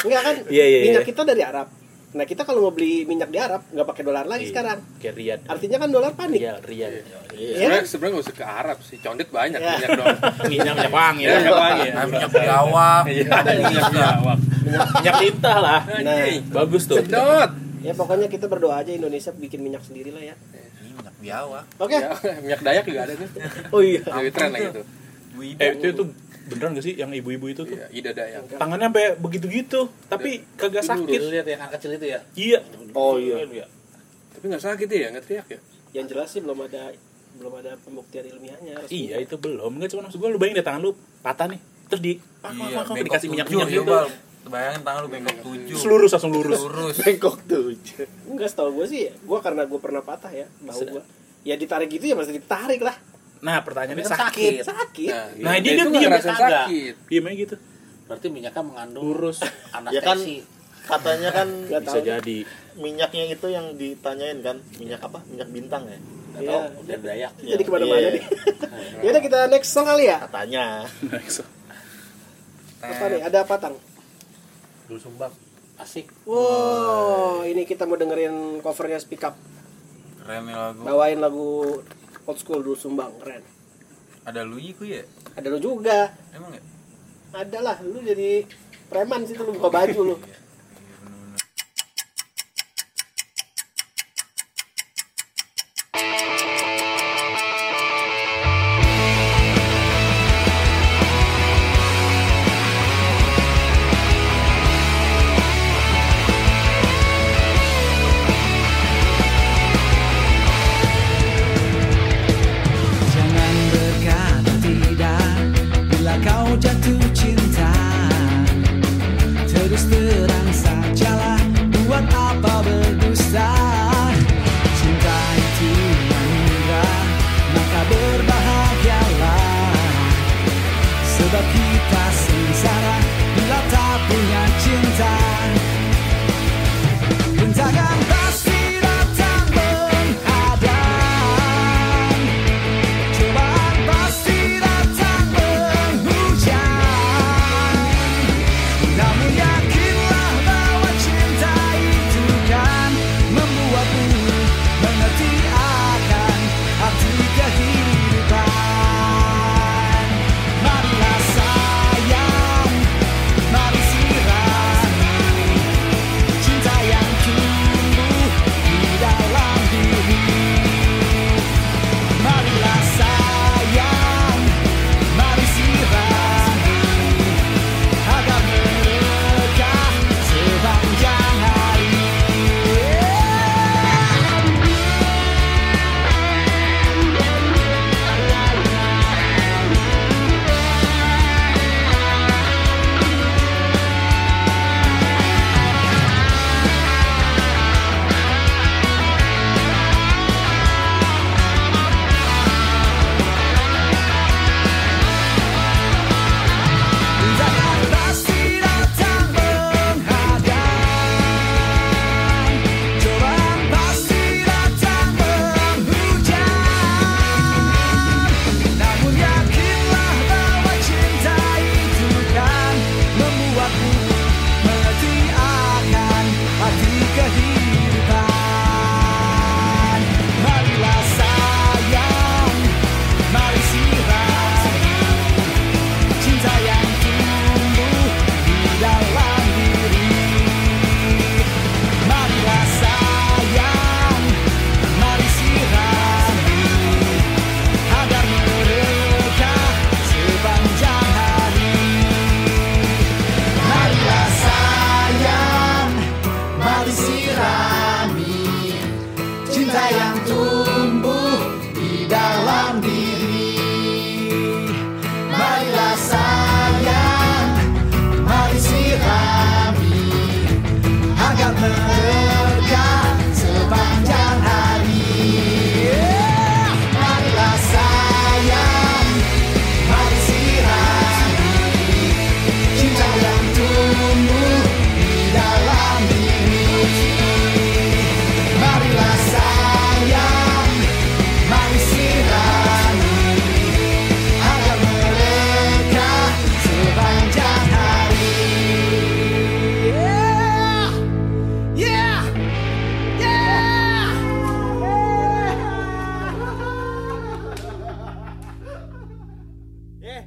Speaker 3: Enggak kan?
Speaker 1: Iya, iya,
Speaker 3: minyak
Speaker 1: iya.
Speaker 3: kita dari Arab. Nah kita kalau mau beli minyak di Arab nggak pakai dolar lagi
Speaker 1: Iya.
Speaker 3: sekarang.
Speaker 1: kayak Iya, Riyadh
Speaker 3: Artinya kan dolar panik.
Speaker 1: Riyadh Riyadh
Speaker 2: iya
Speaker 4: sebenarnya
Speaker 3: Iya.
Speaker 4: sebenarnya nggak usah ke Arab sih condet banyak
Speaker 3: Ya.
Speaker 4: minyak doang
Speaker 1: minyak minyak wangi
Speaker 4: ya
Speaker 1: lah.
Speaker 4: minyak wangi ya
Speaker 17: Nah, minyak biawak
Speaker 4: Iya, ada minyak biawak
Speaker 1: minyak tinta lah
Speaker 3: Nah,
Speaker 1: bagus tuh
Speaker 4: sedot
Speaker 3: ya pokoknya kita berdoa aja Indonesia bikin minyak sendiri lah ya.
Speaker 17: minyak biawak
Speaker 3: Oke.
Speaker 1: Iya.
Speaker 4: Ya, minyak dayak juga ada tuh
Speaker 3: Oh iya.
Speaker 4: lebih tren lah itu
Speaker 17: Bu Ida.
Speaker 1: eh itu itu beneran gak sih yang ibu-ibu itu tuh
Speaker 4: Iya, ida
Speaker 3: Ya,
Speaker 4: dayak
Speaker 1: tangannya sampai begitu gitu tapi kagak
Speaker 5: lu
Speaker 1: sakit
Speaker 5: lihat yang anak kecil itu ya
Speaker 1: iya
Speaker 2: oh iya
Speaker 4: tapi nggak sakit ya nggak teriak ya
Speaker 3: Yang jelas sih belum ada belum ada pembuktian ilmiahnya. resmi.
Speaker 1: iya itu belum nggak cuma maksud gue lu bayangin deh tangan lu patah nih
Speaker 18: terus di pak, pak,
Speaker 10: Iya,
Speaker 18: pak, pak,
Speaker 10: bengkok
Speaker 18: dikasih minyak
Speaker 10: tujuh
Speaker 18: minyak
Speaker 10: ya,
Speaker 18: gitu
Speaker 10: Bal. Bayangin tangan lu bengkok tujuh.
Speaker 18: lurus langsung lurus
Speaker 10: Lurus.
Speaker 4: Iya.
Speaker 10: Nah,
Speaker 2: bengkok tujuh
Speaker 3: Enggak setahu gue sih, gue karena gue pernah patah ya, bahu gue. Ya ditarik gitu ya pasti ditarik lah.
Speaker 18: nah pertanyaannya
Speaker 5: Kan
Speaker 18: sakit,
Speaker 10: iya.
Speaker 3: Sakit.
Speaker 18: nah ini dia
Speaker 4: itu
Speaker 18: diam
Speaker 4: ngerasain
Speaker 18: kagak
Speaker 4: sakit.
Speaker 18: diam aja gitu
Speaker 5: Berarti minyaknya mengandung
Speaker 18: lurus
Speaker 2: Ya kan?
Speaker 5: anestesi.
Speaker 2: katanya kan
Speaker 3: Nggak
Speaker 18: bisa
Speaker 3: tahu.
Speaker 18: jadi
Speaker 2: minyaknya itu yang ditanyain kan minyak apa minyak bintang ya
Speaker 5: Nggak
Speaker 3: Iya.
Speaker 5: tahu, udah dayak.
Speaker 3: Jadi kemana-mana
Speaker 2: Iya.
Speaker 3: nih. Ya udah kita next song kali ya.
Speaker 2: katanya
Speaker 3: Apa nih? Ada apa tang?
Speaker 5: Dulu sumbang. Asik.
Speaker 3: Wow, ini kita mau dengerin covernya Speak Up.
Speaker 10: Keren nih lagu.
Speaker 3: Bawain lagu old school dulu Sumbang, keren.
Speaker 10: Ada Luyi ku ya?
Speaker 3: Ada lu juga.
Speaker 10: Emang ya?
Speaker 3: Ada lah, lu jadi preman sih lu buka baju lu.
Speaker 19: Jangan berkata tidak bila kau jatuh cinta. Terus terang sajalah buat apa berdusta. Cinta itu anugerah maka berbahagialah. Sebab kita sengsara bila tak punya cinta. Rintangan pasti datang menghadang Cobaan pasti datang menghujan Namun yakinlah bahwa cinta itu kan Membuatmu mengerti akan arti kehidupan Marilah sayang, mari sirami cinta yang tumbuh di dalam diri Marilah sayang, mari sirami Agar merekah sepanjang hari Jangan pasti datang menghadang Cobaan pasti datang menghujan Namun yakinlah bahwa cinta itu kan Membuatmu mengerti akan arti kehidupan Marilah sayang, mari sirami cinta yang tumbuh di dalam diri Marilah sayang, mari sirami Agar mereka sepanjang hari Marilah sayang, mari sirami Cinta yang tumbuh di dalam diri Marilah sayang, mari sirami Agar mereka sepanjang hari Marilah sayang, mari sirami Cinta yang tumbuh di dalam diri Marilah sayang, mari sirami agar mereka sepanjang hari. Yeah, yeah, yeah.
Speaker 10: Eh.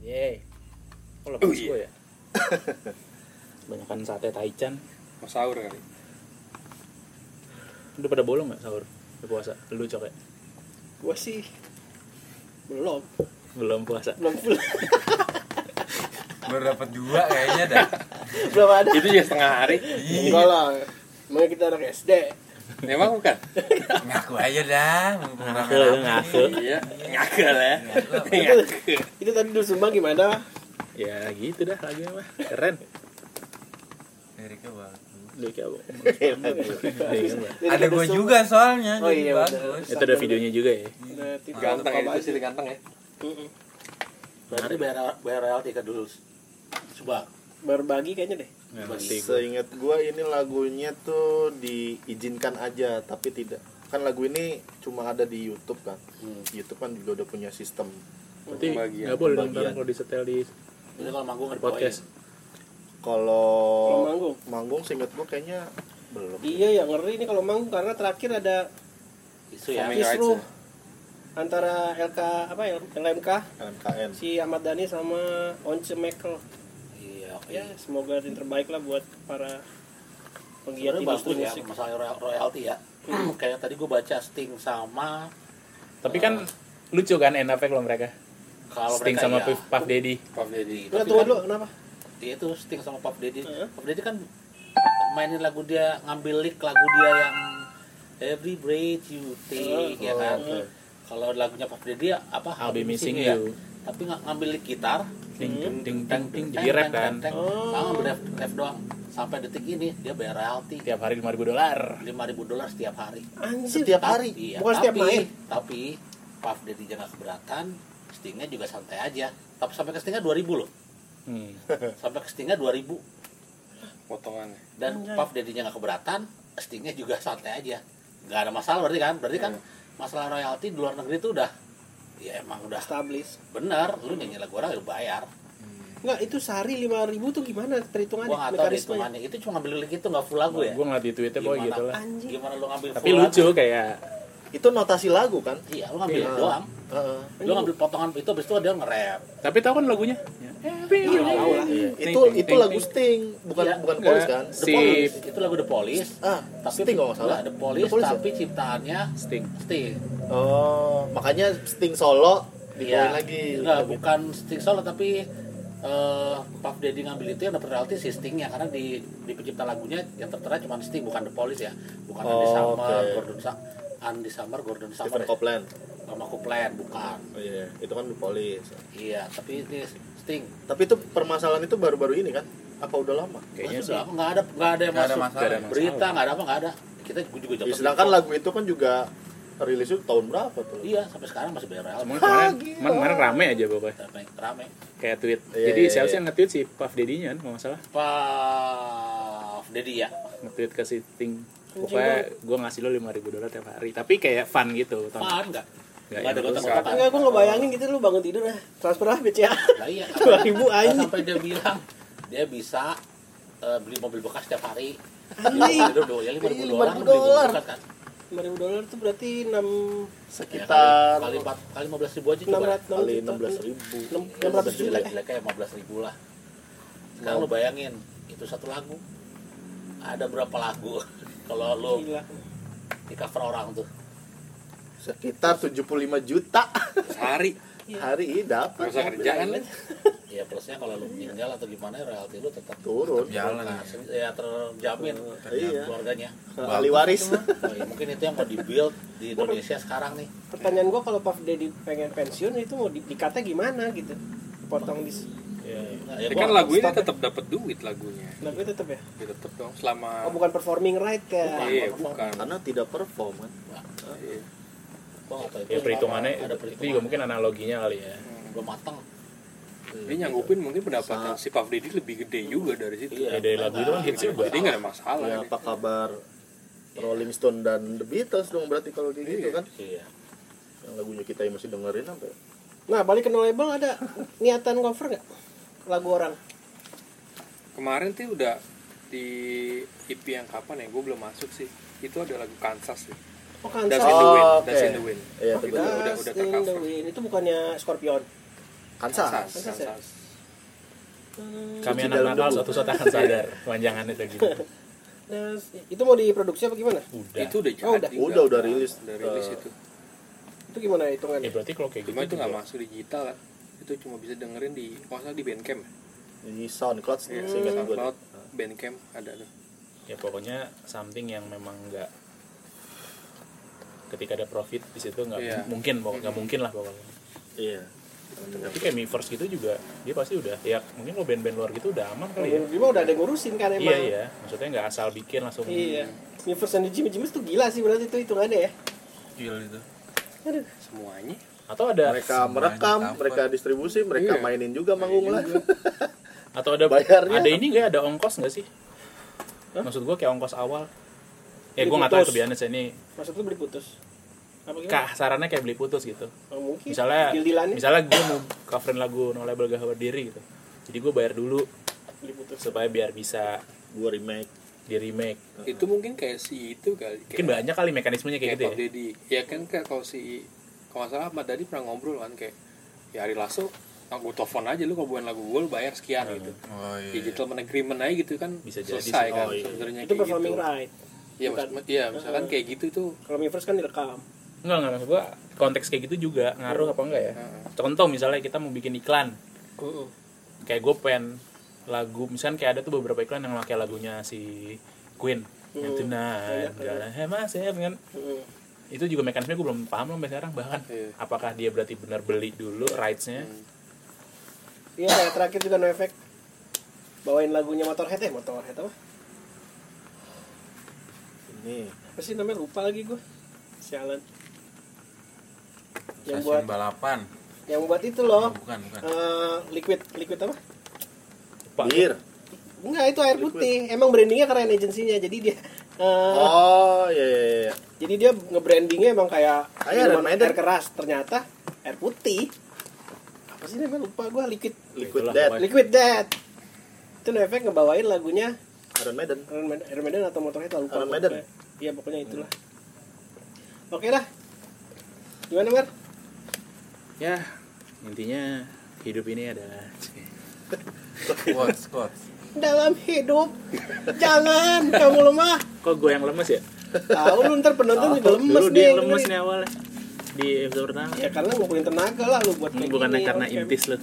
Speaker 18: yeay kalau lepas gua ya Banyakan sate taichan
Speaker 4: Mas Saur kali.
Speaker 18: udah pada bolong nggak sahur udah puasa lu ya? cokek
Speaker 3: Gue sih belum,
Speaker 18: belum puasa
Speaker 3: belum full,
Speaker 10: Baru dapat dua kayaknya dah. Iya.
Speaker 3: belum ada.
Speaker 4: Itu juga setengah hari.
Speaker 3: Enggak lah. Makanya kita anak SD.
Speaker 4: Memang bukan?
Speaker 10: Ngaku aja dah. mumpung
Speaker 18: ngaku
Speaker 10: rame-rame.
Speaker 18: lu ngaku
Speaker 4: iya. Ngakal ya.
Speaker 10: Ngaku.
Speaker 3: Itu tadi dulu sumbang gimana?
Speaker 1: ya gitu dah lagunya mah keren
Speaker 10: Liriknya bagus.
Speaker 1: liriknya bagus.
Speaker 3: Iya,
Speaker 2: Iya.
Speaker 18: Iya,
Speaker 2: Bagus.
Speaker 10: Ada gua juga soalnya.
Speaker 3: Oh
Speaker 10: jadi
Speaker 3: iya,
Speaker 10: bagus.
Speaker 1: itu ada videonya juga ya
Speaker 3: Ada tipe
Speaker 4: Ganteng ya,
Speaker 3: apa
Speaker 4: itu
Speaker 3: aja.
Speaker 4: sih ganteng ya.
Speaker 3: Mm-mm.
Speaker 5: Berarti bayar bayar royalti ke dulu. Coba.
Speaker 3: Berbagi kayaknya deh.
Speaker 18: Nah,
Speaker 1: nggak ngerti gua.
Speaker 2: Seingat gua ini lagunya tuh diizinkan aja tapi tidak. Kan lagu ini cuma ada di YouTube kan.
Speaker 3: Hmm.
Speaker 2: YouTube kan juga udah punya sistem.
Speaker 1: berarti
Speaker 4: Pembagian.
Speaker 1: nggak boleh dong
Speaker 2: Pembagian.
Speaker 1: ntar kalau disetel di
Speaker 5: Ini kalau manggung ada
Speaker 18: Oh,
Speaker 1: podcast
Speaker 18: iya.
Speaker 2: Kalau
Speaker 3: manggung?
Speaker 2: manggung seingat gua kayaknya belum.
Speaker 3: Iya ya ngeri nih kalau manggung karena terakhir ada
Speaker 5: Itu ya.
Speaker 4: Coming rights
Speaker 3: kisruh
Speaker 4: ya.
Speaker 3: antara LK apa ya LMK
Speaker 2: LKN.
Speaker 3: si Ahmad Dhani sama Once Mekel.
Speaker 5: Iya, oke.
Speaker 3: Ya semoga yang terbaik lah buat para penggiat
Speaker 5: Sebenarnya bagus
Speaker 3: industri
Speaker 5: ya
Speaker 3: musik.
Speaker 5: masalah royal- royalti ya. Kayak tadi gue baca Sting sama
Speaker 18: tapi kan lucu kan end up-nya kalau iya. mereka
Speaker 5: kalau
Speaker 18: Sting
Speaker 5: mereka
Speaker 18: sama
Speaker 5: ya,
Speaker 18: Puff Puff Daddy
Speaker 4: Pam Deddy.
Speaker 3: Enggak
Speaker 5: tapi
Speaker 3: tunggu
Speaker 5: kan-
Speaker 3: dulu kenapa?
Speaker 5: dia itu Sting sama Pop Deddy.
Speaker 3: Heeh.
Speaker 5: Pop Deddy kan mainin lagu dia ngambil lick lagu dia yang Every Breath You Take ya kan. Kalau lagunya Pop Deddy ya, apa
Speaker 18: I'll Be Missing
Speaker 5: ya.
Speaker 18: You
Speaker 5: Tapi nggak ngambil lick gitar,
Speaker 18: ting ting ting ting ting
Speaker 5: teng,
Speaker 18: jadi rap
Speaker 5: teng,
Speaker 18: kan
Speaker 5: teng, teng. Nah, ngambil rap, rap doang. Sampai detik ini dia bayar royalti
Speaker 18: tiap hari 5000 dolar
Speaker 5: 5000 dolar setiap hari.
Speaker 3: Anjir.
Speaker 2: Setiap hari.
Speaker 5: Iya, tapi,
Speaker 3: Bukan setiap main.
Speaker 5: Tapi Puff Daddy nya nggak keberatan, Stingnya juga santai aja. Tapi sampai ke Stingnya 2000 loh.
Speaker 18: hmm.
Speaker 5: Sampai ke Stingnya 2000
Speaker 4: Potongannya.
Speaker 5: dan Puff Daddy-nya nggak keberatan, Stingnya juga santai aja. Nggak ada masalah berarti kan? Berarti kan masalah royalti di luar negeri itu udah ya emang udah
Speaker 3: Establish.
Speaker 5: benar lu nyanyi lagu orang udah bayar
Speaker 3: Enggak itu sehari 5000 tuh gimana perhitungannya
Speaker 5: gua nggak tahu deh hitungannya itu cuma ngambil lirik itu nggak full lagu ya
Speaker 18: gue ngeliat di tweetnya boy gitu lah
Speaker 3: Anjing.
Speaker 5: gimana lu ngambil
Speaker 18: tapi
Speaker 5: full
Speaker 18: lucu
Speaker 5: lagu?
Speaker 18: kayak
Speaker 2: Itu notasi lagu kan?
Speaker 5: iya lu ngambil doang
Speaker 2: Heeh.
Speaker 5: lu ngambil potongan itu habis itu dia nge-rap
Speaker 18: tapi tau kan lagunya
Speaker 3: Tahu lah.
Speaker 2: Itu
Speaker 18: ting,
Speaker 2: itu
Speaker 18: ting,
Speaker 2: lagu
Speaker 18: ting.
Speaker 2: Sting, bukan
Speaker 5: Iya.
Speaker 2: bukan Polis kan?
Speaker 5: The
Speaker 18: si
Speaker 5: Police itu lagu The Police
Speaker 2: Ah,
Speaker 5: tapi
Speaker 2: Sting kalau nggak salah.
Speaker 5: nggak, The Police,
Speaker 2: The Police ya?
Speaker 5: tapi ciptaannya
Speaker 18: Sting
Speaker 5: Sting
Speaker 2: Oh, makanya Sting solo
Speaker 5: Iya.
Speaker 2: dibawain lagi.
Speaker 5: Enggak, bukan Sting solo tapi eh Puff Daddy ngambil itu yang dapat royalti si Stingnya karena di di pencipta lagunya yang tertera cuma Sting bukan The Police ya. Bukan Andy
Speaker 2: Oh,
Speaker 5: Summer,
Speaker 2: oke.
Speaker 5: Gordon Sa- Andy Summer, Gordon Summer
Speaker 2: Stephen Copeland.
Speaker 5: sama Copeland bukan.
Speaker 2: Oh iya, itu kan di Polis.
Speaker 5: Iya, tapi ini Sting.
Speaker 2: Tapi itu permasalahan itu baru-baru ini kan? Apa udah lama?
Speaker 18: kayaknya sih
Speaker 5: Sudah nggak ada nggak ada yang
Speaker 10: Nggak ada
Speaker 5: masuk.
Speaker 10: masalah. Nggak ada
Speaker 5: Berita nggak ada apa nggak ada. Kita juga
Speaker 2: Ya,
Speaker 5: dapat.
Speaker 2: sedangkan
Speaker 5: info.
Speaker 2: lagu itu kan juga rilisnya tahun berapa tuh?
Speaker 5: Iya, sampai sekarang masih bayar royalti.
Speaker 18: Cuman kemarin, kemarin, kemarin rame aja pokoknya
Speaker 5: Rame, rame.
Speaker 18: kayak tweet
Speaker 2: Iya,
Speaker 18: jadi
Speaker 2: iya,
Speaker 18: siapa sih
Speaker 2: iya.
Speaker 18: yang nge-tweet si Puff Daddy-nya kan kalau nggak salah
Speaker 5: Puff Daddy ya.
Speaker 18: nge-tweet ke si Ting pokoknya gue ngasih lo 5000 dolar tiap hari tapi kayak fun gitu tau nggak?
Speaker 5: Apaan nggak?
Speaker 18: Nggak
Speaker 5: Nggak ada
Speaker 18: enak.
Speaker 5: gotak-gotakan.
Speaker 3: Enggak gua ngebayangin gitu lu bangun tidur ah. Transfer ah BCA.
Speaker 5: Lah iya.
Speaker 3: 2000 aja.
Speaker 5: Sampai dia bilang dia bisa eh, beli mobil bekas tiap hari.
Speaker 3: Anjing.
Speaker 5: Ya, udah, ya 50
Speaker 2: Iya,
Speaker 5: dolar kan beli
Speaker 2: 50
Speaker 5: mobil
Speaker 2: dolar.
Speaker 5: bekas kan.
Speaker 3: 5000 dolar tuh berarti 6
Speaker 5: Sekitar
Speaker 2: Sekitar
Speaker 5: kali empat kali 15 ribu aja coba. Ya,
Speaker 3: 600
Speaker 2: kali
Speaker 3: 16
Speaker 2: 16 ribu.
Speaker 3: 600 juta.
Speaker 5: Gila kayak 15 ribu lah. Sekarang lu bayangin itu satu lagu. Ada berapa lagu kalau lu
Speaker 3: Gila.
Speaker 5: di cover orang tuh.
Speaker 2: Sekitar 75 juta
Speaker 4: Sehari.
Speaker 5: Iya.
Speaker 2: hari ini
Speaker 4: Gak
Speaker 2: dapat
Speaker 4: usah kerja kan?
Speaker 5: Ya plusnya kalau lu meninggal atau gimana royalti lu tetap
Speaker 2: turun.
Speaker 10: Jalan.
Speaker 5: terkas- ya terjamin
Speaker 2: Iya.
Speaker 5: keluarganya.
Speaker 2: Ahli waris.
Speaker 5: Oh, iya, mungkin itu yang mau dibuild di Indonesia sekarang nih.
Speaker 3: Pertanyaan gua kalau Puff Daddy pengen pensiun itu mau di, dikata gimana gitu. Potong di
Speaker 18: Iya.
Speaker 5: Nah, ya
Speaker 4: Ya,
Speaker 5: gua-
Speaker 4: kan lagu ini tetap dapat duit lagunya.
Speaker 3: lagu tetap ya.
Speaker 4: Ya, tetap dong
Speaker 3: Oh
Speaker 4: selama
Speaker 3: bukan performing right ya.
Speaker 4: Iya, bukan.
Speaker 2: Karena tidak perform kan.
Speaker 4: Iya.
Speaker 5: Gua nggak tahu itu
Speaker 18: ya perhitungannya
Speaker 5: Iya, ada
Speaker 18: itu juga mungkin analoginya kali ya
Speaker 5: belum matang
Speaker 4: Dia nyanggupin mungkin pendapatan si Puff Daddy lebih gede juga dari situ.
Speaker 18: ya,
Speaker 5: Iya.
Speaker 18: dari lagu itu kan hits juga
Speaker 4: Jadi nggak ada masalah.
Speaker 2: Ya, apa kabar Rolling Stone dan The Beatles dong berarti kalau kayak gitu kan.
Speaker 5: iya
Speaker 2: Yang lagunya kita yang masih dengerin apa ya?
Speaker 3: Nah, balik ke no label ada niatan cover nggak lagu orang?
Speaker 4: Kemarin tuh udah di EP yang kapan ya? Gue belum masuk sih. Itu ada lagu Kansas sih.
Speaker 3: Oh,
Speaker 4: That's
Speaker 3: Kansas.
Speaker 4: in the wind.
Speaker 2: Oh,
Speaker 4: That's
Speaker 2: oke.
Speaker 4: in the wind.
Speaker 2: Iya,
Speaker 4: itu
Speaker 2: betul.
Speaker 4: udah udah
Speaker 3: Dust
Speaker 4: udah
Speaker 3: in the
Speaker 4: tercover.
Speaker 3: Wind. Itu bukannya Scorpion.
Speaker 2: Kansas.
Speaker 3: Kansas ya?
Speaker 4: Kansas.
Speaker 18: kami
Speaker 2: Cuci
Speaker 18: anak
Speaker 2: dalam
Speaker 18: nakal
Speaker 2: dulu.
Speaker 18: suatu saat akan sadar panjangan itu gitu
Speaker 3: Nah, itu mau diproduksi apa gimana?
Speaker 18: udah
Speaker 4: Itu udah jadi.
Speaker 3: Oh, udah.
Speaker 4: juga.
Speaker 2: Ya. Udah, udah rilis.
Speaker 4: Udah rilis
Speaker 2: Eh,
Speaker 4: itu.
Speaker 3: Itu gimana
Speaker 18: ya
Speaker 1: Eh, Iya,
Speaker 3: hitungannya?
Speaker 18: berarti kalau kayak gitu
Speaker 4: Cuma itu nggak
Speaker 18: juga
Speaker 4: masuk digital kan. Itu cuma bisa dengerin di kalau nggak salah di Bandcamp. ya?
Speaker 2: Ini SoundCloud sih
Speaker 4: Iya,
Speaker 2: Hmm. seingat gue.
Speaker 4: SoundCloud, Bandcamp ada tuh.
Speaker 18: ya pokoknya something yang memang nggak ketika ada profit di situ nggak
Speaker 4: Iya.
Speaker 18: mungkin pokoknya nggak mungkin lah pokoknya
Speaker 2: Iya.
Speaker 1: tapi kayak Mi First gitu juga dia pasti udah ya mungkin kalau band-band luar gitu udah aman kali ya
Speaker 3: Dia mah Iya. udah ada yang ngurusin kan emang.
Speaker 1: iya iya maksudnya nggak asal bikin langsung
Speaker 3: Iya. Universe and the Jimmy Jimmy's tuh gila sih berarti itu hitungannya ya.
Speaker 20: Gila itu.
Speaker 3: Aduh.
Speaker 4: semuanya
Speaker 1: atau ada
Speaker 2: mereka merekam
Speaker 20: apa.
Speaker 2: mereka distribusi
Speaker 4: Iya.
Speaker 2: mereka mainin juga manggung lah
Speaker 1: atau ada
Speaker 2: Bayarnya
Speaker 1: ada ini nggak ada ongkos nggak sih maksud gua kayak ongkos awal ya gua nggak tahu
Speaker 3: Diputus.
Speaker 1: kebiasaan ini
Speaker 3: Maksud lu beli putus. Apa gimana?
Speaker 1: kasarannya kayak beli putus gitu
Speaker 3: Oh, mungkin.
Speaker 1: misalnya
Speaker 3: Deal-dealannya
Speaker 1: misalnya gue mau coverin lagu no label gak berdiri gitu jadi gue bayar dulu
Speaker 3: beli putus.
Speaker 1: supaya biar bisa
Speaker 2: gua remake
Speaker 1: di remake
Speaker 4: itu mungkin kayak si itu kali
Speaker 1: mungkin
Speaker 4: kayak-
Speaker 1: banyak kali mekanismenya kayak gitu
Speaker 4: kayak
Speaker 1: ya
Speaker 4: Pak Deddy ya kan kayak kalau si kalau nggak salah Ahmad Dadi pernah ngobrol kan kayak ya Ari Lasso aku telepon aja lu kalau bukan lagu gue lu bayar sekian gitu
Speaker 20: Oh iya.
Speaker 4: ya gentleman agreement aja gitu kan
Speaker 1: Bisa jadi
Speaker 4: selesai
Speaker 1: sih.
Speaker 4: kan
Speaker 1: Oh, iya.
Speaker 4: sebenarnya
Speaker 3: Itu
Speaker 4: kayak
Speaker 3: performing
Speaker 4: gitu
Speaker 3: right.
Speaker 4: Iya, maksud- iya, misalkan kayak gitu itu
Speaker 3: Kalau Universe kan direkam.
Speaker 1: enggak enggak maksud gue konteks kayak gitu juga ngaruh apa enggak ya contoh misalnya kita mau bikin iklan kayak gue pengen lagu misalnya kayak ada tuh beberapa iklan yang pakai lagunya si Queen yang tonight gotta have myself kan
Speaker 3: Heeh.
Speaker 1: itu juga mekanismenya gue belum paham loh sampai sekarang bahkan
Speaker 4: Iya. Hmm.
Speaker 1: apakah dia berarti benar beli dulu rights-nya
Speaker 3: Iya, kayak terakhir juga no effect. Bawain lagunya Motorhead eh Motorhead apa?
Speaker 2: ini
Speaker 3: Apa sih namanya lupa lagi gue. Sialan. Yang
Speaker 20: Stasiun
Speaker 3: buat
Speaker 20: balapan.
Speaker 3: yang buat itu
Speaker 20: Oh,
Speaker 3: loh.
Speaker 20: bukan, bukan.
Speaker 3: eh, liquid liquid apa?
Speaker 1: Pak,
Speaker 2: bir
Speaker 3: Enggak, itu air putih. Emang brandingnya keren agensinya. Jadi dia eh,
Speaker 2: oh iya iya, iya.
Speaker 3: Jadi dia nge-brandingnya emang kayak
Speaker 2: Kayak
Speaker 3: minuman
Speaker 2: Red Maiden.
Speaker 3: air keras, ternyata air putih. Apa sih namanya lupa gua liquid
Speaker 2: liquid
Speaker 1: Itulah,
Speaker 2: death
Speaker 1: pokoknya.
Speaker 3: Liquid Death. Itu no effect ngebawain lagunya
Speaker 2: Iron Maiden
Speaker 3: Iron Maiden, Iron Maiden atau Motorhead lah, lupa.
Speaker 2: Iron
Speaker 3: gua.
Speaker 2: Maiden.
Speaker 3: Iya pokoknya itulah. Oke lah. Gimana Mar?
Speaker 1: ya intinya hidup ini adalah
Speaker 20: Quotes, quotes.
Speaker 3: Dalam hidup jangan kamu lemah.
Speaker 1: kok gue yang lemes ya
Speaker 3: Tahu lu ntar penonton juga lemes
Speaker 1: dulu dia
Speaker 3: nih,
Speaker 1: yang lemes ya.
Speaker 3: dengerin.
Speaker 1: nih awalnya di episode pertama
Speaker 3: Ya karena ngumpulin tenaga lah lu buat
Speaker 1: Ini
Speaker 3: kayak
Speaker 1: bukannya
Speaker 3: gini,
Speaker 1: karena
Speaker 3: oke.
Speaker 1: intis lu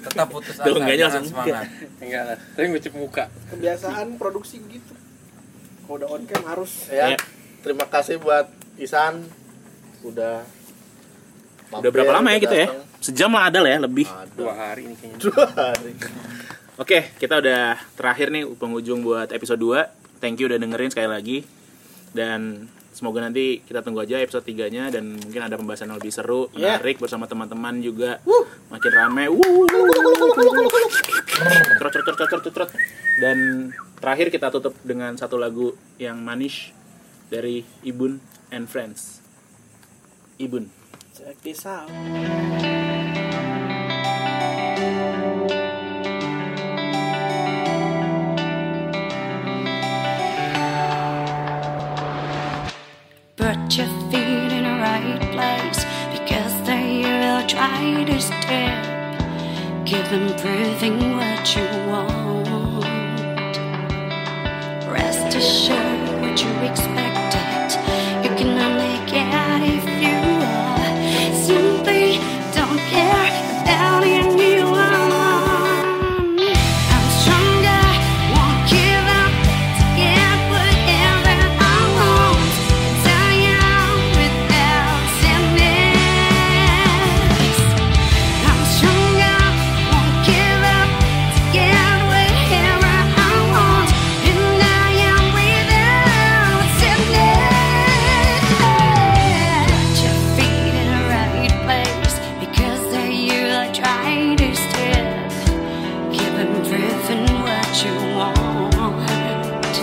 Speaker 20: Tetap putus asa.
Speaker 1: Tuh, enggaknya
Speaker 20: jangan
Speaker 1: langsung
Speaker 20: semangat.
Speaker 4: enggak lah tapi ngucap muka
Speaker 3: Kebiasaan produksi gitu. Kalau udah on cam harus
Speaker 2: ya
Speaker 1: Iya.
Speaker 2: terima kasih buat Isan udah
Speaker 1: udah berapa lama ya kita ya sejam lah ada lah ya lebih
Speaker 4: dua hari ini kayaknya
Speaker 2: dua hari
Speaker 1: Oke, kita udah terakhir nih penghujung buat episode 2. Thank you udah dengerin sekali lagi. Dan semoga nanti kita tunggu aja episode 3-nya dan mungkin ada pembahasan yang lebih seru,
Speaker 3: Yeah.
Speaker 1: menarik bersama teman-teman juga. Makin rame. Wuh. Trot, trot, trot, trot, trot, trot. Dan terakhir kita tutup dengan satu lagu yang manis dari Ibun and Friends. Ibun.
Speaker 3: check this out.
Speaker 8: Put your feet in the right place because the hero tried to step. Give them breathing what you want. Rest assured what you expected. You can only get if you are. Simply don't care about anyone. I'm stronger, won't give up. To get whatever I want. Tell you without sadness. I'm stronger, won't give up. To get whatever I want. And I am without sadness. Put your feet in the right place because the year I tried to step. Keep improving what you want.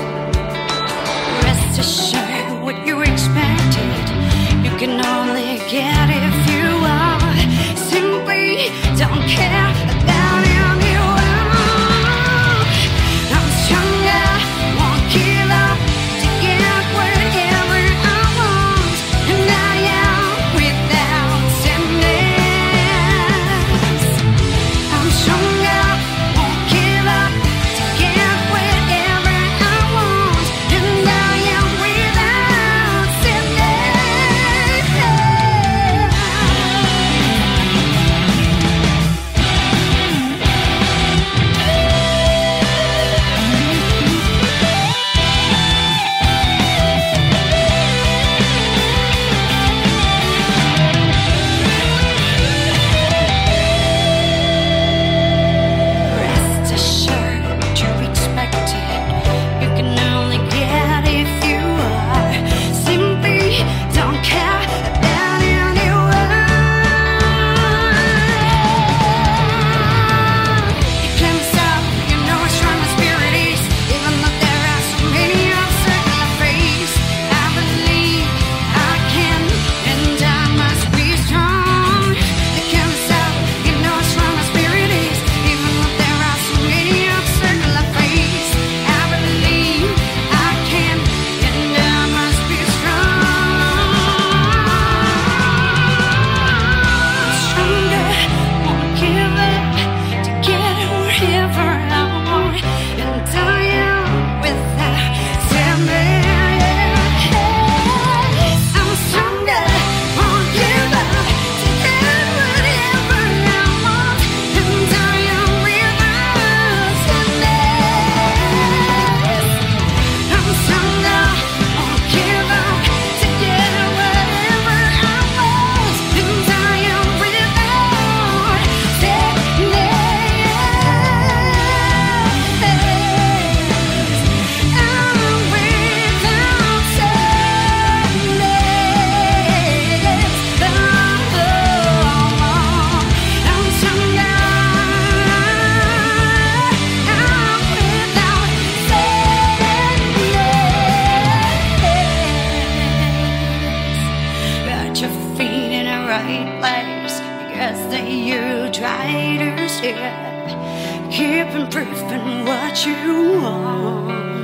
Speaker 8: Rest assured what you expected. You can only get if you are. Simply don't care about anyone. I'm stronger, won't give up. To get whatever I want. And I am without sadness. I'm stronger, won't give up. To get whatever I want, and I am without sadness. keep improving what you are.